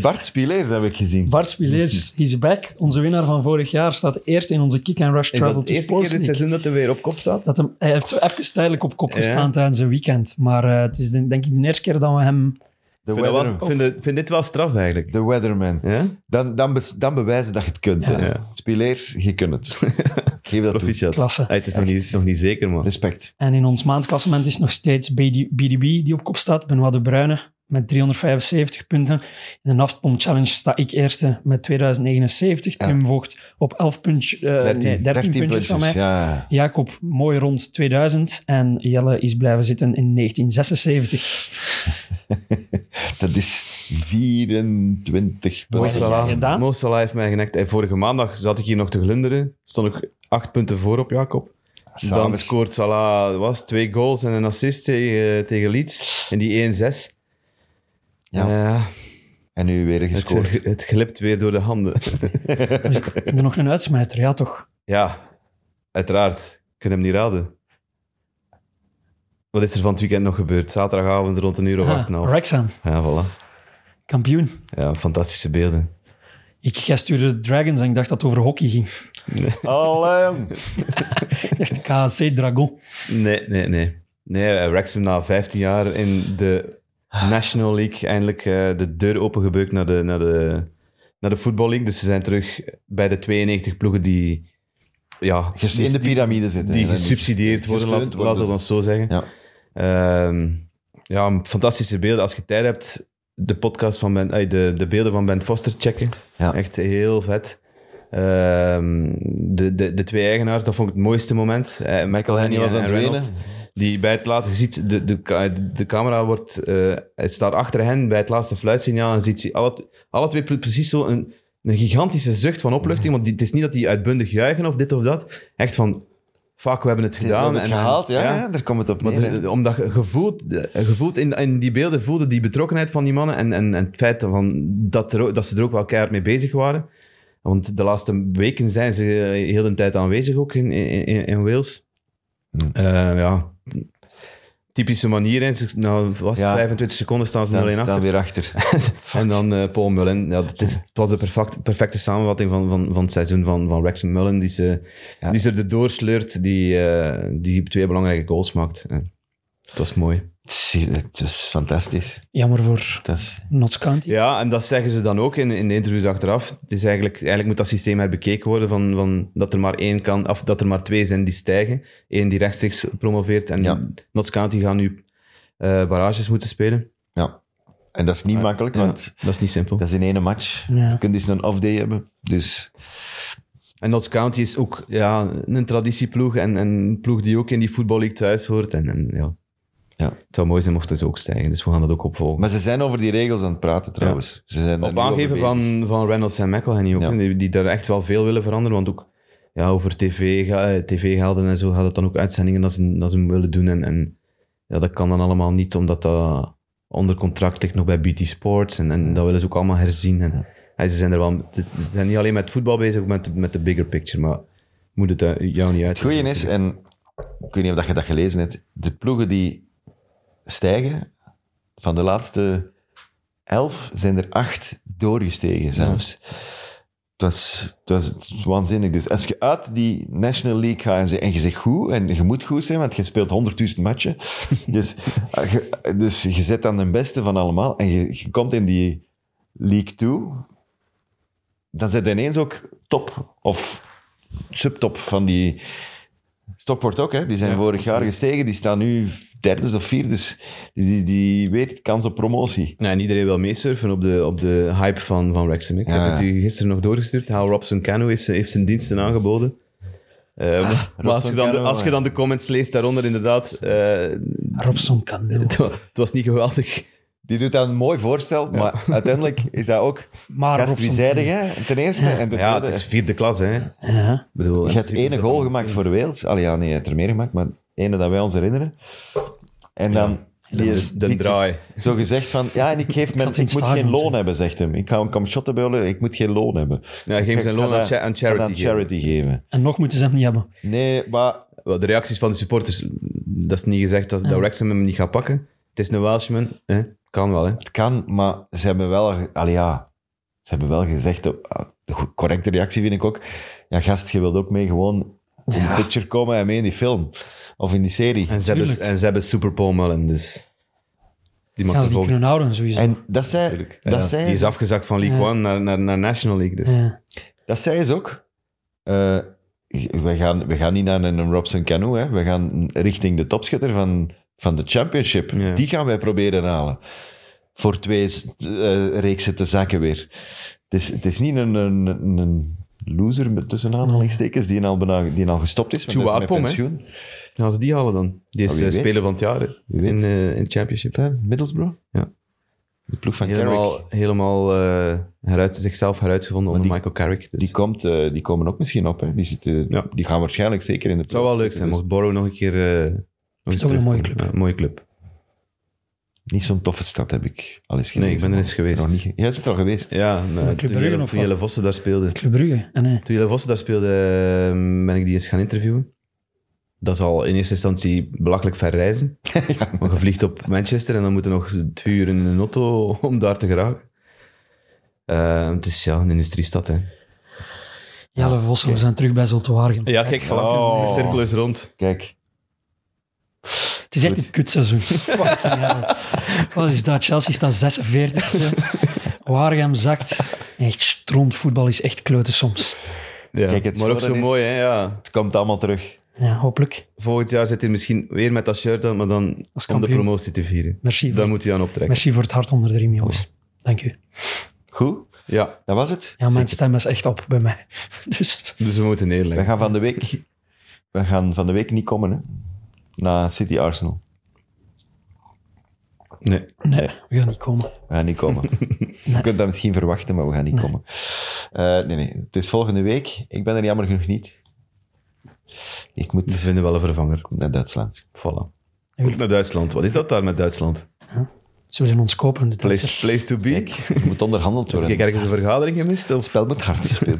Bart Spileers heb ik gezien.
Bart Spileers, he's back. Onze winnaar van vorig jaar staat eerst in onze kick and rush
Is dat
travel
de
to
eerste keer
sports
dit
League.
seizoen dat hij weer op kop staat?
Dat hem, hij heeft zo even tijdelijk op kop
Ja.
gestaan tijdens een weekend. Maar eh, het is de- denk ik de eerste keer dat we hem...
De
Ik vind, dat
weather,
wel- ik vind, ik vind dit wel straf eigenlijk.
de weatherman.
Ja?
Dan, dan, bes- dan bewijzen dat je het kunt. hè.
Ja.
Spileers, je kunt het. Geef dat toe.
Proficiat.
Klasse.
Ah, het is nog niet, het is nog niet zeker, maar...
Respect.
En in ons maandklassement is nog steeds BD, BDB die op kop staat. Benoit de Bruyne met 375 punten. In de Naftpomp Challenge sta ik eerste met 2079. Tim Voogd op 11 puntje, eh, nee, 13, puntjes van mij.
ja.
Jacob mooi rond 2000. En Jelle is blijven zitten in 1976.
Dat is 24
Mo
punten.
Mooi. heb jij
Salah,
gedaan?
Mo Salah heeft mij genekt. En vorige maandag zat ik hier nog te glunderen. Stond ik acht punten voor op Jacob.
Ah,
Dan
S'avonds.
scoort Salah wat was het, twee goals en een assist tegen, tegen Leeds. En die 1-6.
Ja.
Eh,
En nu weer
het,
gescoord.
het glipt weer door de handen.
En dan nog een uitsmijter, ja toch?
ja, uiteraard. Ik kan hem niet raden. Wat is er van het weekend nog gebeurd? Zaterdagavond rond een uur of acht en
Ah,
half.
Wrexham,
Ja, voilà.
kampioen.
Ja, fantastische beelden.
Ik, jij stuurde Dragons en ik dacht dat het over hockey ging.
Allee.
Ik dacht KC Dragon.
Nee, nee, nee. Nee, eh, Wrexham na 15 jaar in de National League eindelijk eh, de deur opengebeukt naar de, naar, de, naar de Football League. Dus ze zijn terug bij de 92 ploegen die... Ja,
Gest- in de piramide zitten.
Dus die
hè,
gesubsidieerd worden,
gesteund
laat- laten we dat zo zeggen.
Ja.
Ehm, ja, een fantastische beelden. Als je tijd hebt, de podcast van Ben, eh, de, de beelden van Ben Foster checken.
Ja.
Echt heel vet. Ehm, de, de, de twee eigenaars, dat vond ik het mooiste moment. Eh,
Michael Haney was aan het
Reynolds,
wenen.
Die bij het laatste, je ziet, de, de, ka- de camera wordt, eh, het staat achter hen bij het laatste fluitsignaal en ziet ze alle, alle twee pre- precies zo een, een gigantische zucht van opluchting. Want die, het is niet dat die uitbundig juichen of dit of dat. Echt van, fuck, we hebben het
We hebben
gedaan.
het
en-
gehaald, ja,
ja.
ja, daar komt het op
Maar
neer,
er-
hè.
omdat je gevoeld, gevoeld in, in die beelden voelde die betrokkenheid van die mannen en, en, en het feit van dat, er ook- dat ze er ook wel keihard mee bezig waren. Want de laatste weken zijn ze eh, heel de tijd aanwezig ook in, in, in- in Wales.
Hm.
Eh, ja, typische manier. hè. Ze- Nou, was het
Ja.
25 seconden staan ze er
Staan,
alleen achter.
staan weer achter.
En dan eh, Paul Mullen. Ja, het, is, het was de perfect, perfecte samenvatting van, van, van het seizoen van, van Wrexham Mullen. Die ze,
Ja.
die ze er doorsleurt, die, eh, die twee belangrijke goals maakt. Eh, Het was mooi.
Zie je, Het is fantastisch.
Jammer voor
Dat is,
Notts County.
Ja, en dat zeggen ze dan ook in, in de interviews achteraf. Het is eigenlijk, eigenlijk moet dat systeem herbekeken worden van, van dat er maar één kan, of dat er maar twee zijn die stijgen. Eén die rechtstreeks promoveert en
Ja.
Notts County gaan nu eh barrages moeten spelen.
ja. En dat is niet makkelijk,
Ja,
want
dat is niet simpel.
dat is in één match.
Ja.
Je kunt eens een off-day hebben. Dus
En Notts County is ook ja, een traditieploeg en, en een ploeg die ook in die Football League thuis hoort. En, en, ja.
Ja.
Het zou mooi zijn mochten ze ook stijgen, dus we gaan dat ook opvolgen.
Maar ze zijn over die regels aan het praten trouwens. Ze zijn daar
Op
nu over
aangeven
bezig.
van, van Reynolds en McElhenney ook,
Ja.
hè, die, die daar echt wel veel willen veranderen. Want ook ja, over tv, ga- eh, tv-gelden en zo gaat het dan ook uitzendingen dat ze, dat ze willen doen. En, en ja, dat kan dan allemaal niet, omdat dat onder contract ligt nog bij BT Sports. En, en dat willen ze ook allemaal herzien. En, ja, ze, zijn er wel, ze zijn niet alleen met voetbal bezig, ook met, met de bigger picture. Maar moet het eh, jou niet uit.
Het goeie is, en ik weet niet of dat je dat gelezen hebt, de ploegen die stijgen, van de laatste elf zijn er acht doorgestegen zelfs. Het, was, het, was, het was waanzinnig. Dus als je uit die National League gaat en ze- en je zegt goed, en je moet goed zijn, want je speelt 100.000 matchen. dus, eh, je- dus je zet dan de beste van allemaal en je, je komt in die League 2, dan zit ineens ook top of subtop van die. Stockport ook, hè? die zijn
Ja,
vorig jaar gestegen. Die staan nu derde of vierde. Dus die, die weet kans op promotie.
Ja, Nou, en iedereen wil meesurfen op de, op de hype van, van Wrexham. Ik
Ja,
heb het
ja.
u gisteren nog doorgestuurd. Hal Robson Cano heeft, zijn- heeft zijn diensten aangeboden. Eh, maar- maar als je, dan de,
Ah, Cano,
als je
ja.
dan de comments leest daaronder, inderdaad, eh,
Robson Cano.
het, wa- het was niet geweldig.
Die doet dat een mooi voorstel, maar uiteindelijk is dat ook
Maar
gast
Robson
wiezijdig, hè? ten eerste. En ten
Ja,
tweede,
het is vierde klas, hè. Ik
Ja.
bedoel,
je
in
hebt
principe
één
is
goal
dat-
gemaakt voor Wales. Allee, ja, nee, je hebt er meer gemaakt, maar ene dat wij ons herinneren. En dan... die
de- de
liet zich
draai.
Zo gezegd van, ja, en ik, geef
had
mijn,
in
ik moet
het
geen
stadion
loon
moeten.
hebben, zegt hem. Ik ga een kamshot hebben, ik moet geen loon hebben.
Ja, geef
Ik
zijn
ga
loon aan,
dat-
cha- aan
ik ga dat
charity.
aan charity geven.
En nog moeten ze hem niet hebben.
Nee, maar
Wel, De reacties van de supporters, dat is niet gezegd dat, dat Wrexham hem niet gaat pakken. Het is een Welshman, hè. Kan wel, hè.
Het kan, maar ze hebben wel, ge- allee, ja, ze hebben wel gezegd, op- ah, de go- correcte reactie vind ik ook. Ja, gast, je wilt ook mee gewoon in de picture komen en mee in die film of in die serie.
En ze, hebben,
Tuurlijk.
en ze hebben Super Paul Mullen, dus... Die mag
Gaan
de
ze die
volgende
kunnen houden, sowieso.
En dat zei, dat
dus- Ja,
zei
die is
ze,
afgezakt van League
Ja.
One naar, naar, naar National League. Dus.
Ja.
dat zei ze ook. Eh, we, gaan, we gaan niet naar een Robson Cano, hè. we gaan richting de topschutter van, van de championship.
Ja.
Die gaan wij proberen halen. Voor twee eh, reeksen te zakken weer. Het is, het is niet een, een, een- een loser met tussen aanhalingstekens die al, bijna, die al gestopt is. want hij is met
Chouapom, hè?
pensioen.
Gaan ze die halen dan?
Ja,
Die is
Oh, wie
eh,
weet.
speler van het jaar hè,
Wie
in,
weet.
eh, in de Championship.
Hè, Middlesbrough?
Ja.
De ploeg van Carrick.
Helemaal, helemaal eh, heruit, zichzelf heruitgevonden onder
die-
Michael Carrick. Dus.
Die, komt, eh, die komen ook misschien op. Hè. Die, zitten,
Ja.
die gaan waarschijnlijk zeker in de dus-
het zou wel leuk zijn, mocht Borrow nog een keer... eh, nog eens
ook wel een mooie
terugkomen.
club.
Ja, mooie club.
Niet zo'n toffe stad heb ik al eens
Nee,
gelezen.
ik ben er eens geweest.
Nog niet ge- Jij is er al geweest.
Ja, nou,
Club
toen
Brugge
Jelle-
of
toen
wat?
Jelle Vossen daar speelde.
Club Brugge. En nee.
Toen Jelle Vossen daar speelde, eh, ben ik die eens gaan interviewen. Dat is al in eerste instantie belachelijk ver reizen. Maar je vliegt op Manchester en dan moeten nog twee uur in een auto om daar te geraken. Eh, Eh, het is ja, een industriestad. Hè.
Jelle Vossen, we zijn terug bij Zulte Waregem.
Ja, kijk, voilà.
Oh.
De cirkel is rond.
Kijk,
Het is echt
Goed.
een kutseizoen. Fucking hell. Wat is dat? Chelsea staat 46e. Waregem zakt. Echt stront. Voetbal is echt kloten soms.
Ja.
Kijk, het
maar ook zo
scoren is-
mooi, hè? Ja.
het komt allemaal terug.
Ja, hopelijk.
Volgend jaar zit hij misschien weer met dat shirt aan, maar dan
Als
om de
kampioen.
promotie te vieren.
Merci voor,
Daar moet hij aan optrekken.
merci voor het hart onder de riem, jongens. Dank u.
Goed,
Ja,
dat was het.
Ja, mijn stem is echt op bij mij. Dus
dus we moeten
We
neerleggen.
gaan van de week, we gaan van de week niet komen, hè. Na City Arsenal.
Nee.
nee, we gaan niet komen.
We gaan niet komen. Je kunt dat misschien verwachten, maar we gaan niet komen. Eh, nee, nee. Het is volgende week. Ik ben er jammer genoeg niet. Ik
Ze
moet
vinden wel een vervanger.
naar Duitsland.
Voilà.
En wil-
Naar Duitsland. Wat is dat daar met Duitsland?
Ze willen ons kopen. Dit is
Place,
er.
place to be?
Kijk, er moet onderhandeld
Heb
worden.
ik ergens een vergadering gemist? Of?
spel met hart gespeeld.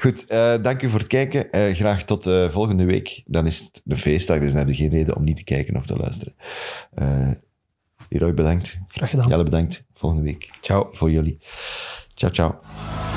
Goed, eh, dank u voor het kijken. Eh, graag tot eh, volgende week. Dan is het een feestdag, dus dan heb je geen reden om niet te kijken of te luisteren. Eh Leroy, bedankt.
Graag gedaan.
Jelle, bedankt. Volgende week
Ciao.
voor jullie. Ciao, ciao.